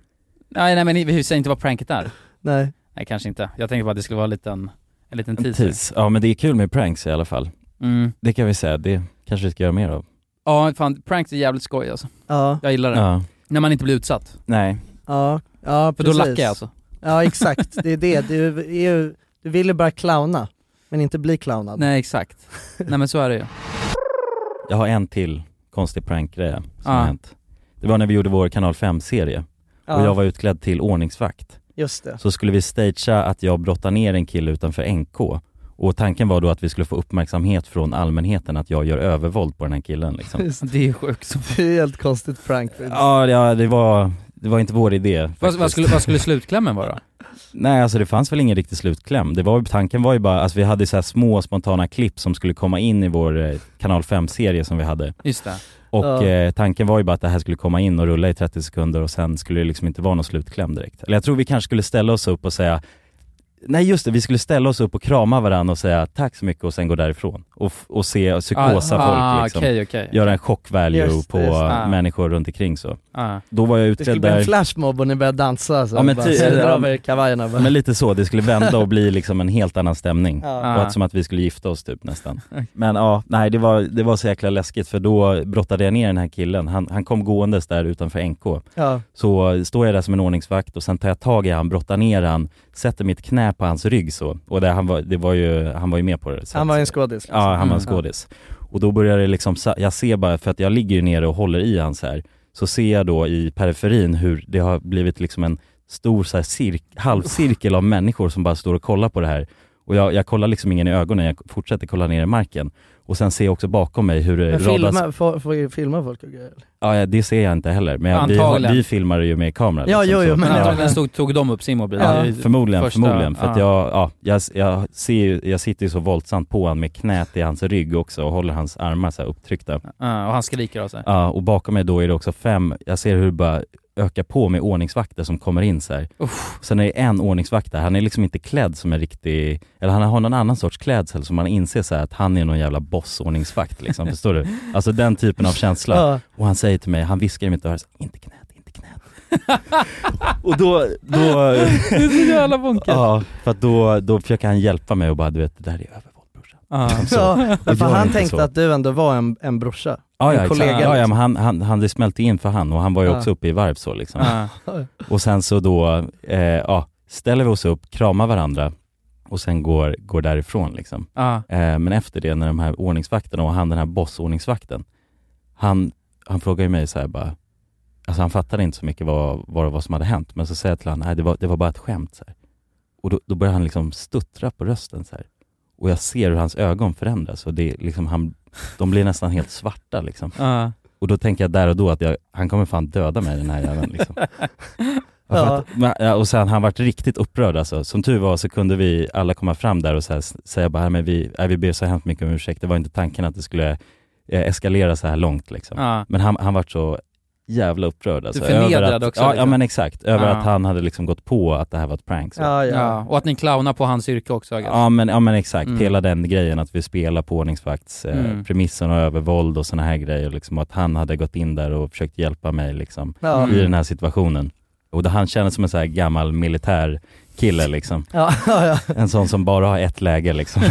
Nej, nej men ni- vi säger inte vad pranket är. Nej. Nej, kanske inte. Jag tänkte bara att det skulle vara en liten, en liten En teaser. tease. Ja men det är kul med pranks i alla fall. Mm. Det kan vi säga, det kanske vi ska göra mer av. Ja, fan, pranks är jävligt skoj alltså. Ja. Jag gillar det. Ja. När man inte blir utsatt. Nej. Ja, ja För då precis. lackar jag alltså. Ja exakt, det är det. Du, är ju, du vill ju bara clowna, men inte bli clownad. Nej, exakt. Nej men så är det ju. Jag har en till konstig prankgrej som Ja. har hänt. Det var när vi gjorde vår kanal 5-serie Ja. och jag var utklädd till ordningsvakt. Just det. Så skulle vi stagea att jag brottar ner en kille utanför NK och tanken var då att vi skulle få uppmärksamhet från allmänheten att jag gör övervåld på den här killen liksom. Just Det är sjukt. som- Det är helt konstigt prank. Ja, ja det, var, det var inte vår idé Vad, vad, faktiskt. skulle, vad skulle slutklämmen vara? Nej alltså det fanns väl ingen riktig slutkläm. Det var, ju- tanken var ju bara, alltså vi hade så här små spontana klipp som skulle komma in i vår eh, kanal 5-serie som vi hade. Just det. Och Ja. eh, tanken var ju bara att det här skulle komma in och rulla i 30 sekunder och sen skulle det liksom inte vara någon slutkläm direkt. Eller jag tror vi kanske skulle ställa oss upp och säga Nej just det, vi skulle ställa oss upp och krama varandra och säga tack så mycket och sen gå därifrån. Och, f- och se psykosa Ah, ah, folk liksom. okej, okej. Göra en chock value Just det, på just det. eh, Ah. människor runt omkring så. Ah. Då var jag Det skulle utklädd bli en där. flashmob och ni började dansa så Ja, men bara, ty- så eller- drar vi kavajerna bara. Men lite så, det skulle vända och bli liksom en helt annan stämning. Ja. Och att, som att vi skulle gifta oss typ nästan. Men ja, nej det var, det var så jäkla läskigt för då brottade jag ner den här killen. Han, han kom gåendes där utanför NK. Ja. Så står jag där som en ordningsvakt och sen tar jag tag i han, brottar ner han, sätter mitt knä på hans rygg så. Och det, han, var, det var ju, han var ju med på det. Så Han att- var ju en skådis liksom. Ja, han var en Mm. skådis. Och då börjar det liksom, sa- jag ser bara, för att jag ligger ju nere och håller i han så här, så ser jag då i periferin hur det har blivit liksom en stor så här cirk, halvcirkel av människor som bara står och kollar på det här. Och jag, jag kollar liksom ingen i ögonen, jag fortsätter kolla ner i marken. Och sen ser jag också bakom mig hur det Men radas... filma, får, får vi filma folk och grejer? Ja, ja, det ser jag inte heller. Men jag, vi, har- Antagligen. vi filmar ju med kamera. Ja, jo, så- jo, men- Men Ja. antagligen stod, tog de upp sin mobil. Ja, Det är förmodligen, första- förmodligen. För att ja. jag, ja, jag, jag, ser ju, jag sitter ju så våldsamt på honom med knät i hans rygg också och håller hans armar så här upptryckta. Ja, Ah, och han skriker av sig. Ja, och bakom mig då är det också fem, jag ser hur det bara ökar på med ordningsvakter som kommer in så här. Sen är det en ordningsvakt där, han är liksom inte klädd som en riktig, eller han har någon annan sorts klädsel som man inser så här att han är någon jävla bossordningsvakt liksom, förstår du? Alltså den typen av känsla. Ja. Och han säger till mig, han viskar i mitt öra, så här, inte knät, inte knät. och då, då... Det är så jävla bonkigt. Ja, för att då, då försöker han hjälpa mig och bara du vet, det där är över. Ja. Så, ja, och men för gör han inte tänkte så. att du ändå var en, en brorsa. Ja, en ja, kollega. liksom. exakt. ja, ja men han, han, han, det smälte in för han och han var ju Ja. också uppe i varv så liksom. Ja. Och sen så då, eh, ja, ställer vi oss upp, kramar varandra och sen går, går därifrån liksom. Ja. Eh, men efter det när de här ordningsvakterna och han den här bossordningsvakten, han, han frågar ju mig så här bara, alltså han fattade inte så mycket vad, vad, vad som hade hänt, men så säger jag till honom, nej det var, det var bara ett skämt så här. Och då, då börjar han liksom stuttra på rösten så här. Och jag ser hur hans ögon förändras och det är liksom han, de blir nästan helt svarta liksom. Ja. Och då tänker jag där och då att jag, han kommer fan döda mig den här jäveln liksom. Ja. för Att, men, ja, och sen han varit riktigt upprörd alltså. Som tur var så kunde vi alla komma fram där och så här, s- säga bara, "Nej, men vi, nej, vi ber så hemskt mycket om ursäkt, det var inte tanken att det skulle eh, eskalera så här långt liksom. Ja. Men han, han vart så jävla upprörd alltså. förnedrad över att, också, Ja, ja liksom. men exakt, över Ja. att han hade liksom gått på att det här var ett prank. Så. Ja. Ja, ja. Ja. Och att ni clownar på hans yrke också. I guess. men, ja men exakt, Mm. hela den grejen att vi spelar på ordningsvakts, eh, Mm. premissen och övervåld och sådana här grejer liksom, och att han hade gått in där och försökt hjälpa mig liksom Ja. i den här situationen. Och det, han kändes som en så här gammal militär kille liksom. Ja, ja, ja. En sån som bara har ett läge liksom.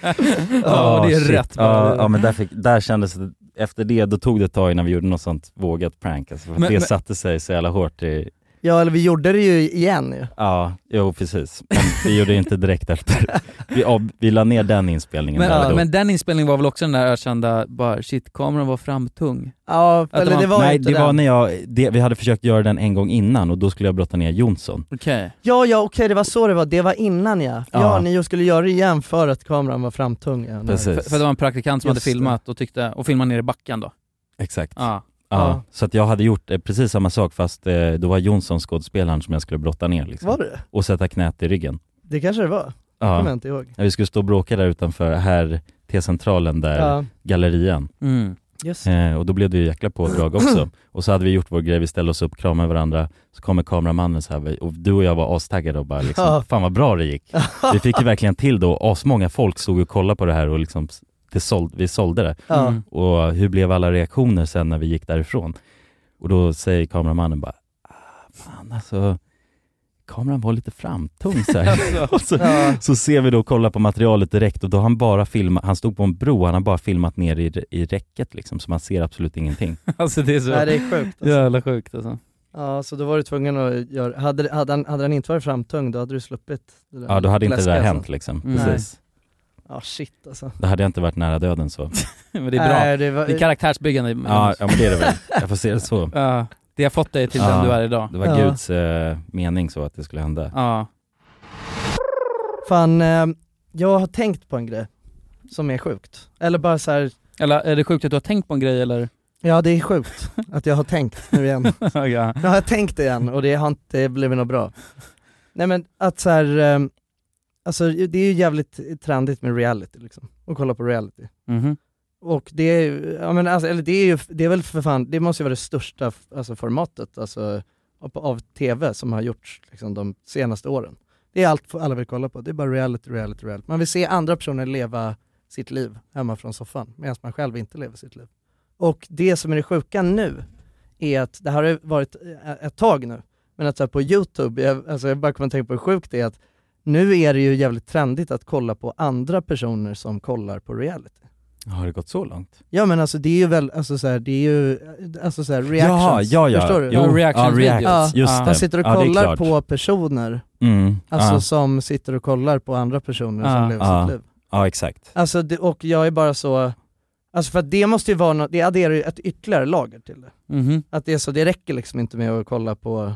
Ja, Ah, det är shit. rätt. Ja, ja men där, fick, där kändes det, efter det, då tog det ett tag innan vi gjorde något sånt vågat prank alltså, för att Men- det men- satte sig så jävla hårt i, ja, eller vi gjorde det ju igen ju. ja, jo precis. Men vi gjorde det inte direkt efter. Vi, av, vi la ner den inspelningen Men, ah, där och då. men den inspelningen var väl också den där ökända, bara shit, kameran var framtung. Ja, det eller var- det var Nej, inte det den. var när jag, det, vi hade försökt göra den en gång innan och då skulle jag brotta ner Jonsson. Okej. Ja, ja okej det var så det var, det var innan ja. Ja, Ja. ni skulle göra det igen för att kameran var framtung. Ja, Nej. Precis, För, för det var en praktikant som Just det. hade filmat och, tyckte, och filmade ner i backen då. exakt. Ja. Ja, Ja. så att jag hade gjort eh, precis samma sak fast eh, då var Jonsson skådespelaren som jag skulle brotta ner liksom, Var det och sätta knät i ryggen. det? kanske det var, kommer jag Ja. inte ihåg. Vi skulle stå och bråka där utanför här T-centralen där, Ja, gallerian. Mm. just det. Eh, och då blev det ju jäkla pådrag också. Och så hade vi gjort vår grej, vi ställde oss upp, kramade varandra, så kommer kameramannen så här, och du och jag var astaggade och bara liksom, Ja. fan vad bra det gick. Vi fick ju verkligen till det och asmånga folk stod och kollade på det här och liksom, det såld, vi sålde det. Ja. Mm. Och hur blev alla reaktioner sen när vi gick därifrån? Och då säger kameramannen bara, ah, fan alltså, kameran var lite framtung så här. och så, Ja. så ser vi då och kollar på materialet direkt och då har han bara filmat, han stod på en bro, han har bara filmat ner i, i räcket liksom, så man ser absolut ingenting. Alltså det är så Nej det är sjukt alltså. jävla sjukt alltså. Ja, så då var du tvungen att göra, hade, hade, han, hade han inte varit framtung då hade du sluppit det där Ja, då hade inte det där läskiga hänt sen. liksom. Nej. Precis. Ja shit alltså. Då hade jag inte varit nära döden så. Men det är bra. Nej, det var, Det är karaktärsbyggande. Ja, Jonas. ja men det är det väl. Jag får se det så. Ja. Det har fått dig till Ja. den du är idag. Det var Ja. Guds eh, mening så att det skulle hända. Ja. Fan, eh, jag har tänkt på en grej som är sjukt. Eller bara så här, Eller är det sjukt att du har tänkt på en grej eller? ja det är sjukt att jag har tänkt nu igen. ja. Nu har jag tänkt det igen och det har inte blivit något bra. Nej men att så här, eh, alltså det är ju jävligt trendigt med reality liksom, och kolla på reality. Mhm. Och det är ju, ja men alltså, eller det är ju, det är väl för fan, det måste ju vara det största f- alltså, formatet alltså, av, av tv som har gjorts liksom, de senaste åren. Det är allt alla vill kolla på, det är bara reality, reality, reality. Man vill se andra personer leva sitt liv hemma från soffan medan man själv inte lever sitt liv. Och det som är det sjuka nu är att, det här har ju varit eh, ett tag nu, men att så här, på youtube, jag, alltså, jag bara kommer att tänka på hur sjukt det är att nu är det ju jävligt trendigt att kolla på andra personer som kollar på reality. Har det gått så långt? Ja men alltså det är ju väl, alltså så här, det är ju, alltså så här, Jaha, reactions, ja ja. förstår du? Jo, Ja, ja, reactions reactions. videos. Just Ja. det. Man sitter och Ja, det är kollar klart. på personer, Mm. alltså ja. som sitter och kollar på andra personer Ja. som lever Ja. sitt liv. ja, exakt. Alltså det, och jag är bara så, alltså för att det måste ju vara något, det adderar ju ett ytterligare lager till det. Mhm. Att det är så, det räcker liksom inte med att kolla på,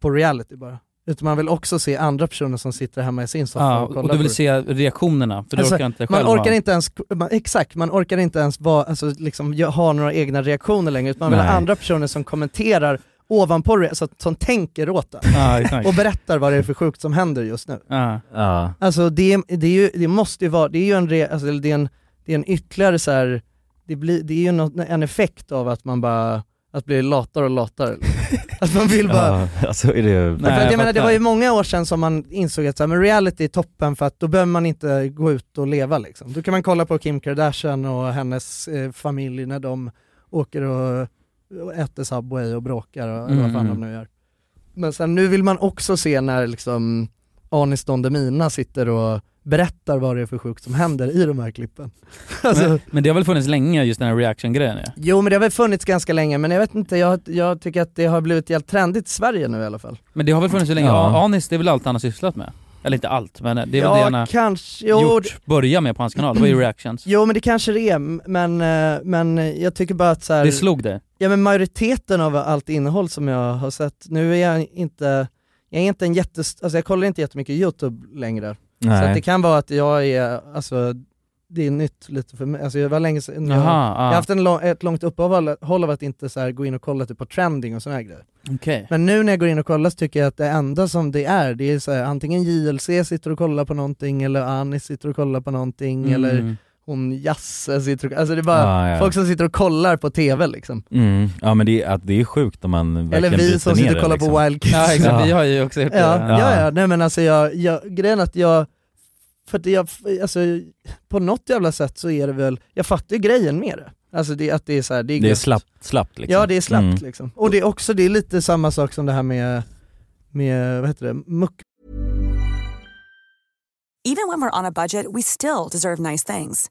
på reality bara. Utan man vill också se andra personer som sitter hemma i sin soffa Ja, och kollar och du på vill det. se reaktionerna, för du Alltså, orkar inte man själv orkar ha- inte ens, man, exakt, man orkar inte ens vara, alltså, liksom, gö- ha några egna reaktioner längre, utan man vill Nej. ha andra personer som kommenterar ovanpå, re- alltså, som tänker åt det. Ja, exakt. och berättar vad det är för sjukt som händer just nu. Ja. Ja. Alltså det, det, är ju, det måste ju vara, det är ju en, re, alltså, det är en, det är en ytterligare så här, det, blir, det är ju något, en effekt av att man bara, att bli latare och latare. att man vill bara, Ja, alltså är det... för att jag menar, det var ju många år sedan som man insåg att så här, men reality är toppen för att då behöver man inte gå ut och leva liksom. Då kan man kolla på Kim Kardashian och hennes eh, familj när de åker och, och äter Subway och bråkar och Mm. vad fan de nu gör. Men sen nu vill man också se när liksom Anis Don Demina sitter och berättar vad det är för sjukt som händer i de här klippen. alltså, men, men det har väl funnits länge, just den här reaction-grejen ja. Jo men det har väl funnits ganska länge men jag vet inte, jag, jag tycker att det har blivit jävligt trendigt i Sverige nu i alla fall. Men det har väl funnits så länge? Ja. Ja. Anis, det är väl allt han har sysslat med? Eller inte allt, men det är väl det han ja har kanske, jo, gjort, börja med på hans kanal, det var ju reactions. Jo men det kanske det är, m- men, eh, men jag tycker bara att så här, Det slog det. ja, men majoriteten av allt innehåll som jag har sett, nu är jag inte, jag är inte en jättest, alltså jag kollar inte jättemycket youtube längre. Så att det Nej. kan vara att jag är, alltså det är nytt lite för mig, alltså det var länge sedan jag, jag Jaha, ah, har ja. haft en lång, ett långt uppehåll håll av att inte så här gå in och kolla typ på trending och såna här grejer. okej. Men nu när jag går in och kollar så tycker jag att det enda som det är, det är så här, antingen JLC sitter och kollar på någonting eller Anis sitter och kollar på någonting eller Mm. hon Jasse sitter och, alltså det är bara Ja, ja. folk som sitter och kollar på TV liksom. Mm. Ja men det är, att det är sjukt om man verkligen Eller vi bryter som ner sitter det, och kollar liksom. på Wild Kids. Ja exakt, Ja. vi har ju också gjort det. ja, Ja. ja, ja, nej men alltså jag, jag grejen är att jag, för att jag, alltså på något jävla sätt så är det väl, jag fattar ju grejen med det. Alltså det, att det är så här, det är, Det är gött. slappt, slappt liksom. Ja det är slappt Mm. liksom. Och det är också, det är lite samma sak som det här med, med vad heter det, muck Even when we're on a budget, we still deserve nice things.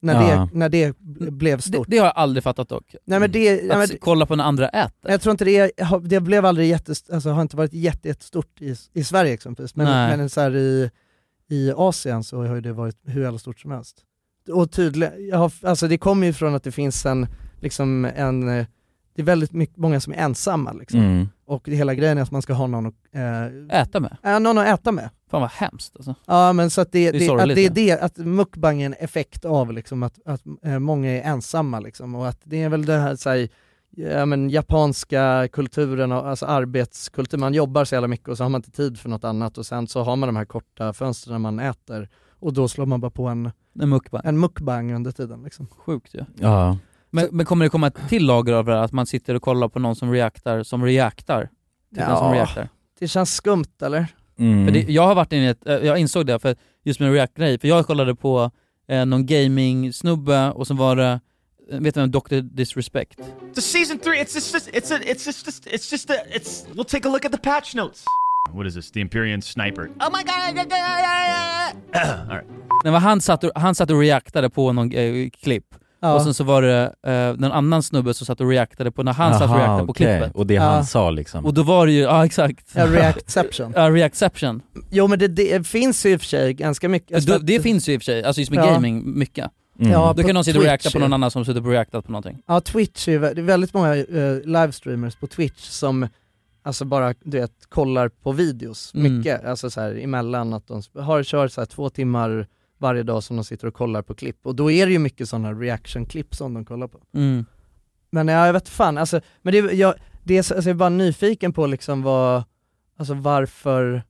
när, Ja. det, när det blev Det, stort. det har jag aldrig fattat dock. nej men det, Alltså, nej, men, Att kolla på när andra äter. Jag tror inte det, är- har- det blev aldrig jätte, alltså har inte varit jätte- jättestort i, i Sverige exempelvis, Nej. men, men så här i, i Asien så har ju det varit hur jävla stort som helst. Och tydligen, jag har, alltså det kommer ju från att det finns en, liksom en, eh, det är väldigt mycket, många som är ensamma liksom. Mm. Och hela grejen är att man ska ha någon, att, eh, Äta med. äh, någon att äta med. Fan vad hemskt alltså. Ja men så att det, Det är det, sorgligt, att det är ja. det, att mukbang är en effekt av liksom att, att eh, många är ensamma liksom och att det är väl det här så här, ja, men, japanska kulturen, och- alltså arbetskultur, man jobbar så jävla mycket och så har man inte tid för något annat och sen så har man de här korta fönstren när man äter och då slår man bara på en, En mukbang. en mukbang under tiden liksom. Sjukt ju. Ja. Men, men kommer det komma ett till lager av det här, att man sitter och kollar på någon som reaktar, som reaktar? Till den som Ja. reaktar. Det känns skumt eller? Mm. För det, jag har varit inne i ett, eh, jag insåg det för just med React-grej, för jag kollade på eh, någon gaming-snubbe och så var det, eh, vet du vem, Dr Disrespect? The season three. It's just, just it's a, it's just, just it's just a, it's. We'll take a look at the patch notes. What is this? The Empyrean Sniper. Oh my god! Nej, men han, satt och, han satt och reaktade på någon eh, klipp, Ja. och sen så var det eh, någon annan snubbe som satt och reaktade på när han satt och Aha, reaktade på okej. klippet. Och det Ja. han sa liksom. Och då var det ju, ja exakt, Ja, reactception. ja, reactception. Jo men det, det finns ju i och för sig ganska mycket. Alltså, det, det finns ju i och för sig, alltså just med Ja. gaming, mycket. Mm. Ja, Då på kan någon sitta och Twitch reakta på ju. någon annan som suttit och reaktat på någonting. Ja, Twitch är ju vä- det är väldigt många eh, livestreamers på Twitch som alltså bara du vet, kollar på videos Mm. mycket, alltså så här emellan att de sp- har, kör så här två timmar varje dag som de sitter och kollar på klipp och då är det ju mycket sådana reaction-klipp som de kollar på. Mm. Men ja, jag vet fan, alltså, men det, jag, det är, så- alltså, jag är bara nyfiken på liksom vad, alltså varför,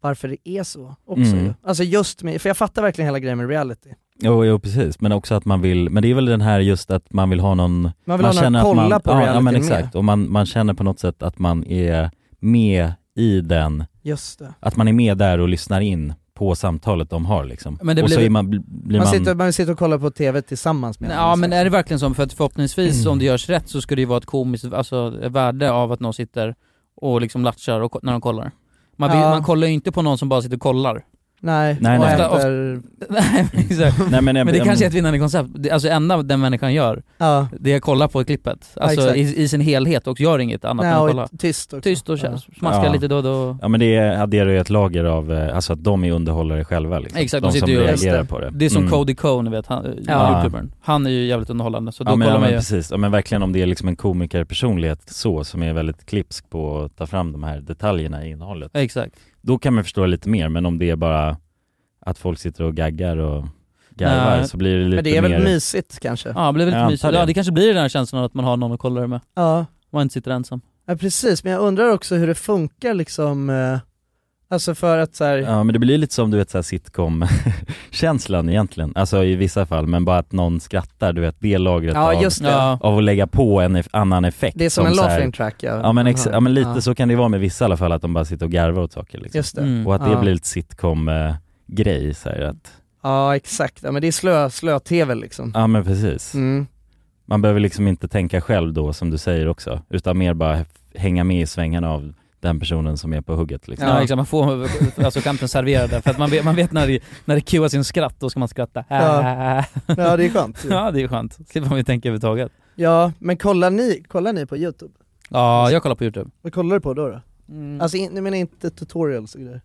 varför det är så också Mm. ju. Alltså just med, för jag fattar verkligen hela grejen med reality. Jo, jo precis, men också att man vill, men det är väl den här just att man vill ha någon Man vill ha någon att att kolla på ja, ja, realityn men med. exakt, och man, man känner på något sätt att man är med i den, Just det. att man är med där och lyssnar in på samtalet de har liksom. Men det och så blir- är man, bl- blir Man, man, sitter, man sitter och kollar på TV tillsammans med Ja varandra. men är det verkligen så? För att förhoppningsvis om det görs rätt så ska det ju vara ett komiskt alltså, värde av att någon sitter och liksom latchar och, ko- när de kollar. Man, vill, Ja. man kollar ju inte på någon som bara sitter och kollar. Nej, Nej, och nej. äter- Nej, men exakt. Nej, men men, jag- det jag- kanske är ett vinnande koncept. Det, alltså enda den människan gör, Ja. det är att kolla på klippet. Ja, Alltså exakt. i, i sin helhet och gör inget annat Nej, än att och kolla. tyst också. Tyst och Ja. känns, smaskar Ja. lite då och då. Ja men det är- adderar ju ett lager av, eh, alltså att de är underhållare själva liksom. Exakt, de de som sitter ju och- reagerar på det. Det är som Mm. Cody Cohn, ni vet, han, eh, Ja. youtubern. Han är ju jävligt underhållande, så då ja, men, kollar ja, man men ju. precis, ja, men verkligen om det är liksom en komikerpersonlighet så som är väldigt klipsk på att ta fram de här detaljerna i innehållet. Exakt. Då kan man förstå lite mer men om det är bara att folk sitter och gaggar och garvar Nej. så blir det lite mer Men det är väl mysigt kanske? Ja, det blir Jag väldigt mysigt. antar det. Ja, det kanske blir den här känslan att man har någon att kolla det med. Ja. Man inte sitter ensam. Ja precis, men jag undrar också hur det funkar liksom, eh, alltså för att så här, Ja men det blir lite som du vet såhär sitcom-känslan egentligen, alltså i vissa fall men bara att någon skrattar du vet det lagret Ja, av, just det. Ja. av att lägga på en eff- annan effekt Det är som en så här- laughing track, ja. Ja men, ex- Aha. ja, men lite Ja. så kan det vara med vissa i alla fall att de bara sitter och garvar åt saker liksom. Just det. Mm. Och att det Ja. blir lite sitcom-grej så här, att, ja exakt, ja men det är slö, slö-tv liksom. ja men precis Mm. Man behöver liksom inte tänka själv då som du säger också, utan mer bara f- hänga med i svängarna av den personen som är på hugget liksom. Ja, exakt, man får alltså kanten serverad där, för att man vet, man vet när det, när det cuas in skratt, då ska man skratta. Ja. Ja, det är skönt ju. Ja det är skönt, slipper man ju tänka överhuvudtaget. Ja, men kollar ni, kollar ni på youtube? Ja, jag kollar på youtube. Vad kollar du på då? då? Mm. Alltså in, jag menar inte tutorials och grejer,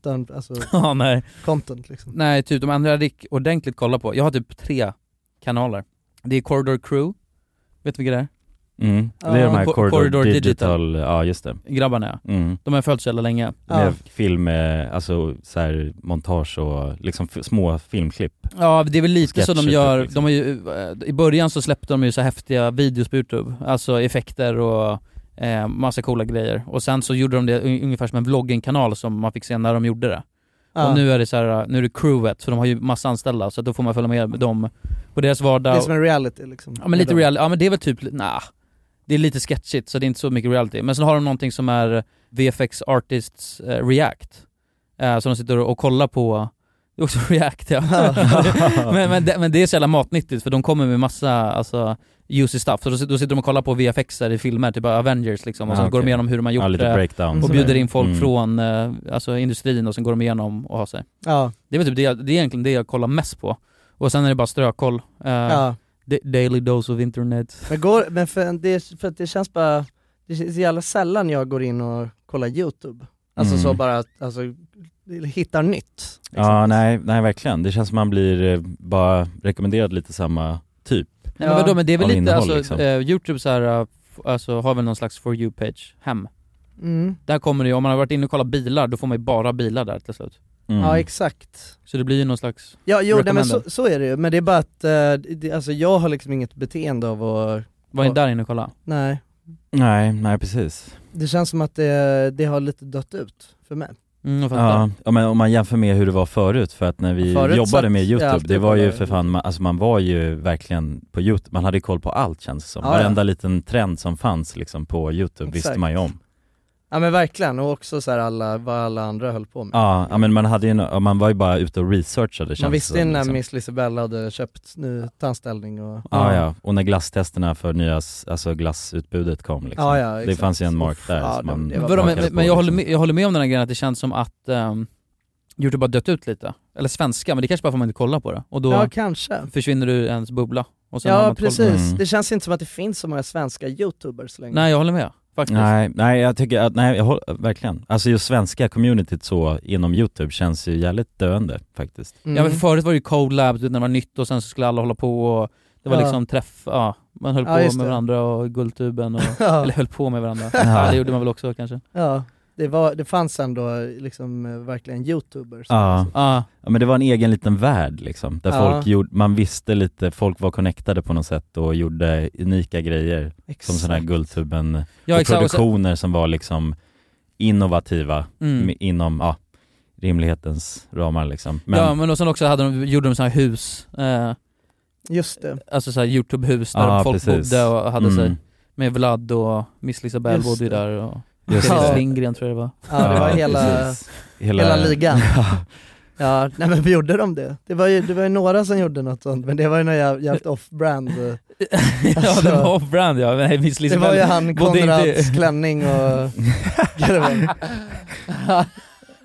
utan alltså Ja, nej. content liksom. Nej, typ de andra jag rikt- ordentligt kollar på, jag har typ tre kanaler. Det är Corridor Crew, vet du vilka det är? Mm. Det är de här Co- Corridor, Digital. ja just det. Grabbarna ja. Mm. De har jag följt så jävla länge. Det blev film, eh, alltså så här, montage och liksom f- små filmklipp. Ja, det är väl lite så de Sketcher, gör. typ, liksom. De har ju, eh, I början så släppte de ju så häftiga videos på Youtube, alltså effekter och eh, massa coola grejer. Och sen så gjorde de det un- ungefär som en vloggen-kanal som man fick se när de gjorde det. Ja. Och nu är det så här, eh, nu är det crewet, så de har ju massa anställda, så då får man följa med dem på deras vardag. Det är som en reality liksom. Ja men Med lite dem. reality, ja men det är väl typ, nah. Det är lite sketchigt så det är inte så mycket reality. Men sen har de någonting som är VFX Artists eh, React. Eh, så de sitter och kollar på, det är också React ja. men, men, det, men det är så jävla matnyttigt för de kommer med massa, alltså juicy stuff. Så då, sit- då sitter de och kollar på VFXer i filmer, typ Avengers liksom. Och Ja, så går de Ah, okej. igenom hur de har Ja, gjort lite det. breakdowns Och och bjuder grejer. in folk Mm. från eh, alltså industrin och sen går de igenom och har sig. Ja. Det är väl typ det, det är egentligen det jag kollar mest på. Och sen är det bara strökoll. Eh, Ja. da- Daily dose of internet. Men, går, men för, det, för att det känns bara, det är så jävla sällan jag går in och kollar youtube. Alltså Mm. så bara, att- alltså hittar nytt. Ja nej, nej verkligen. Det känns som man blir eh, bara rekommenderad lite samma typ. Nej men vadå, men det är väl Av lite, innehåll, alltså liksom. eh, youtube så här, eh, f- alltså har väl någon slags for you-page, hem. Mm. Där kommer det ju, om man har varit inne och kollat bilar, då får man ju bara bilar där till slut. Mm. Ja exakt. Så det blir ju någon slags Ja jo nej, men recommended. så, så är det ju, men det är bara att, eh, det, alltså jag har liksom inget beteende av att, Var ni där inne och kolla? nej. Nej, nej precis. Det känns som att det, det har lite dött ut för mig. Mm, jag fattar. Ja, ja, men om man jämför med hur det var förut, för att när vi Förut satt jobbade med jag Youtube, alltid det och var ju kollade. för fan, man, alltså man var ju verkligen på Youtube, man hade koll på allt känns det som. Ja, ja. Varenda liten trend som fanns liksom på Youtube visste Exakt. man ju om. Ja men verkligen, och också så här alla, vad alla andra höll på med. Ja, ja men man hade ju, en- ja, man var ju bara ute och researchade Man känns visste det ju som, när liksom. Ah, Miss Lisabella hade köpt ny tandställning och... Ja, ja, och när glasstesterna för nya, s- alltså glassutbudet kom liksom. Ja, ja, det exakt. fanns ju en mark där ja, som man det var- Vadå, men, hakade på, men jag, håller liksom. med, jag håller med om den här grejen att det känns som att ehm, youtube har dött ut lite. Eller svenska, men det kanske bara för att man inte kollar på det. Och då Ja kanske. försvinner du ens bubbla. Och sen har man Ja inte koll på precis, Mm. det känns inte som att det finns så många svenska youtubers det. längre. Nej jag håller med, faktiskt. Nej, nej jag tycker att, nej jag håller, verkligen. Alltså just svenska communityt så inom youtube känns ju jävligt döende faktiskt. Mm. Ja men förut var det ju collab, du vet, när det var nytt och sen så skulle alla hålla på och det var Ja. liksom träff, ja, man höll Ja, på med just det. varandra och Guldtuben och, Ja. eller höll på med varandra. Ja. Det gjorde man väl också kanske. Ja, det, var, det fanns ändå liksom eh, verkligen youtubers. Ja. Ja, ja, men det var en egen liten värld liksom, där Ja. folk gjorde, man visste lite, folk var connectade på något sätt och gjorde unika grejer. Som sådana här Guldtuben, Ja, och exakt. Och så- produktioner som var liksom innovativa Mm. med- inom, ja, rimlighetens ramar liksom. Men, ja men och sen också hade de, gjorde de så här hus, eh, Just det. alltså så här youtube-hus där Ja, folk precis. bodde och hade Mm. sig med Vlad och Miss Lisabelle Just bodde ju det. där och Just Felix det. Lindgren tror jag det var. Ja, det var hela, precis. hela ligan. Ja, Ja, nej men gjorde de det? Det var ju, det var ju några som gjorde något sånt, men det var ju något jäv- jävligt off-brand. eh, ja, alltså. det var off-brand ja. Nej, Miss Det var ju Liseberg han bodde inte- Konrads klänning och...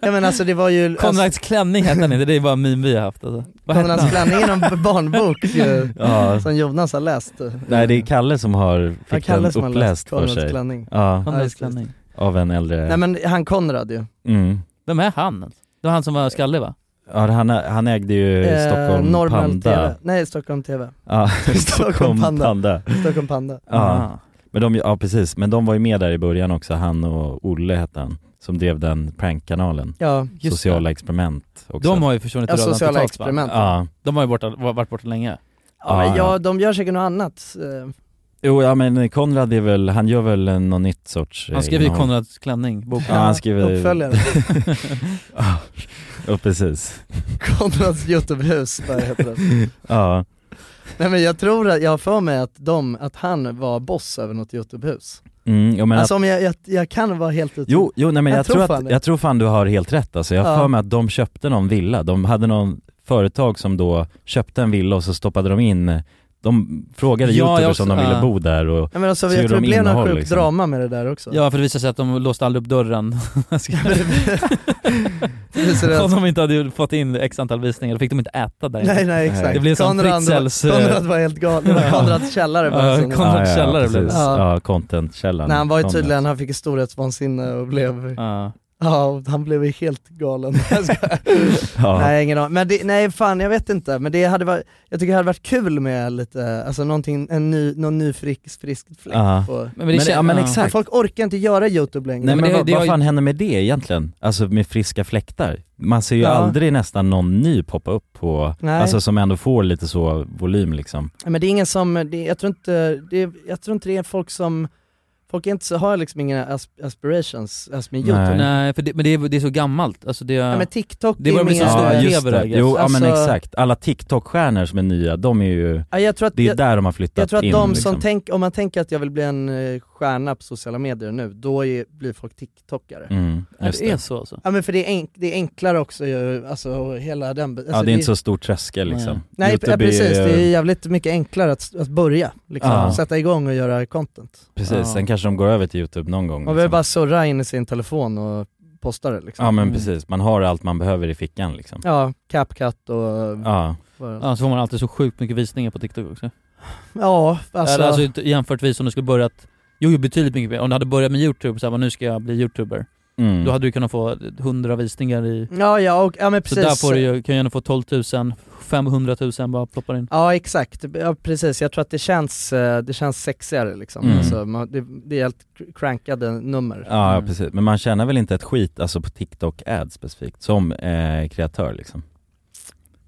ja men alltså det var ju... Konrads klänning hette han inte, det är bara en meme vi har haft alltså. Vad hette Konrads han? klänning är någon barnbok ju, Ja. som Jonas har läst. Nej det är Kalle som har Ja, fick Kalle den som har uppläst läst för Konrads sig. Eh, klänning. Ja, Konrads just det. klänning. av en äldre... Nej men han Konrad ju. mm. Vem är han? Det var han som var skallig va? ja, han, han ägde ju Eh, Stockholm Norrmalm Panda. TV. Nej, Stockholm TV. Ja, Stockholm Panda. Stockholm Panda. Ja. Men de, ja precis, men de var ju med där i början också, han och Olle hette han, som drev den prankkanalen. Ja. Just Sociala det. experiment också. De har ju försvunnit Ja, ur radarn sociala totalt, va? experiment. Ja. De har ju borta, varit borta länge. Ja, men Ah, Ja, ja, de gör säkert något annat. eh, Jo, ja men Konrad är väl, han gör väl en- någon nytt sorts eh, Han skrev ju innehåll. Konrads klänning, boken. Ja, han skriver... Uppföljare. ja, ja, precis. Konrads Göteborgshus, vad heter det. Ja. Nej men jag tror att, jag har för mig att de, att han var boss över något Göteborgshus. Mm, jo, men Alltså att, om jag, jag, jag kan vara helt ute. jo, jo nej, men jag, tror fan att, det. jag tror fan du har helt rätt alltså. Jag har Ja. för mig att de köpte någon villa, de hade någon företag som då köpte en villa och så stoppade de in de frågade Ja, jag youtubers om de också- ville ja. bo där och Nej, men alltså, så jag gjorde tror det de blev något innehåll, sjukt liksom. drama med det där också. Ja för det visade sig att de låste aldrig upp dörren. Visade det- Om de inte hade fått in x antal visningar, då fick de inte äta där inne. Nej nej exakt. Det blev som Konrad, Fritzels... eh, Konrad var helt galen, det var Konrads källare bara Ja, som- Ja, Konrads ja, källare blev precis. det. Ja, contentkällan. Nej han var ju Kom tydligen, han fick storhetsvansinne och blev, Ja. ja han blev ju helt galen. Jag skojar. Ja. Nej ingen aning, men det, nej fan jag vet inte, men det hade varit, jag tycker det hade varit kul med lite, alltså någonting, en ny, någon ny frisk, frisk fläkt Ja. på Men det kän- ja, men ja. exakt. Folk orkar inte göra youtube längre. Nej men, det- vad, det har vad ju- fan händer med det egentligen? Alltså med friska fläktar? Man ser ju Ja. aldrig nästan någon ny poppa upp på, Nej. alltså som ändå får lite så volym liksom. Nej, Men det är ingen som, det, jag, tror inte, det, jag tror inte det är folk som, folk är inte så, har liksom inga as, aspirations, alltså med youtube. Nej. Nej. Nej, för det, men det är, det är så gammalt. Alltså det, men TikTok Det är var mer, väl så stora ja, tv- just det. I guess. Jo, ja men Alltså- exakt. Alla TikTok-stjärnor som är nya, de är ju, jag tror att, det är jag, där de har flyttat jag tror att in de liksom. som tänker, om man tänker att jag vill bli en eh, stjärna på sociala medier nu, då är, blir folk tiktokare. Mm, Ja, just det är det. så alltså. Ja men för det är, enk, det är enklare också ju, alltså och hela den alltså, Ja det är inte så stor tröskel liksom. Nej YouTube ja, precis, är, det är ju- jävligt mycket enklare att, att börja, liksom, Ja. Mm, sätta igång och göra content. Precis, Ja. sen kanske de går över till YouTube någon gång. Man behöver bara surra in i sin telefon och posta det liksom. liksom. Ja men Mm. precis, man har allt man behöver i fickan liksom. Ja, CapCut och... Ja, Ja, Ja, så får man alltid så sjukt mycket visningar på TikTok också. ja alltså, Alltså, alltså inte- jämförtvis om du skulle börjat, jo jo, betydligt mycket mer. Om du hade börjat med youtube, såhär nu ska jag bli youtuber. mm. Då hade du kunnat få 100 visningar i... ja, ja, och, ja men Så precis. där får du ju, kan du gärna få 12 000, 500 000 bara ploppar in. Ja exakt, ja, precis. Jag tror att det känns, eh, det känns sexigare liksom. Mm. Alltså, man, det, det är helt cr- crankade nummer. Ja, ja Mm. precis. Men man tjänar väl inte ett skit alltså på TikTok ads specifikt, som eh, kreatör liksom?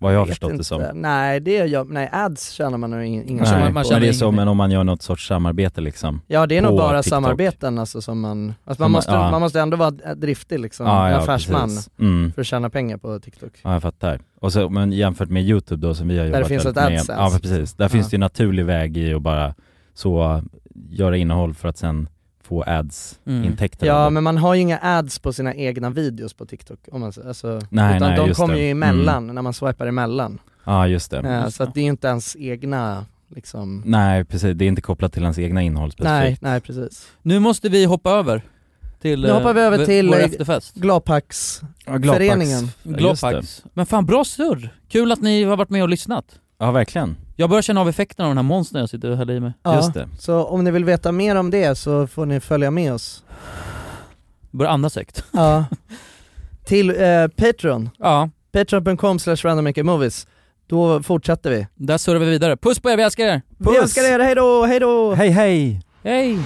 Vad jag har Vet förstått det som. inte. Nej, det är jag, nej ads tjänar man nog ingen, ingen Nej, man- tjänar man på. tjänar men det är som ingenting. en, om man gör något sorts samarbete liksom. Ja det är nog på bara TikTok. samarbeten alltså som man, alltså, man, Som man- måste, ja. man måste ändå vara driftig liksom, en affärsman precis. Mm. för att tjäna pengar på TikTok. Ja, jag fattar. Och så, men jämfört med YouTube då som vi har jobbat finns väldigt ett med. AdSense. Ja, men precis. Där Ja. finns det ju en naturlig väg i att bara så äh, göra innehåll för att sen få Mm. ads-intäkter. Ja men man har ju inga ads på sina egna videos på TikTok om man, alltså, Nej, utan nej, de just kommer det. Mm. ju emellan, när man swipar emellan. Ja, just det. Mm, Eh, just så det. att det är ju inte ens egna liksom Nej, precis. Det är inte kopplat till ens egna innehåll Nej, specifikt. nej precis. Nu måste vi hoppa över till Nu eh, hoppar vi över v- till, vår eh, efterfest. Glapax, Ja, Glapax. Föreningen. Ja, just det. Glopax. Men fan bra surr! Kul att ni har varit med och lyssnat. Ja, verkligen. Jag börjar känna av effekten av den här monstern jag sitter och häller i mig. ja. Just det. så om ni vill veta mer om det så får ni följa med oss. Börjar andas högt. Ja. Till eh, Patreon, Ja, patreon.com slash randommakermovies. Då fortsätter vi. där surrar vi vidare. Puss på er, vi älskar er! Vi älskar er, hejdå, hejdå! Hej, hej! Hej!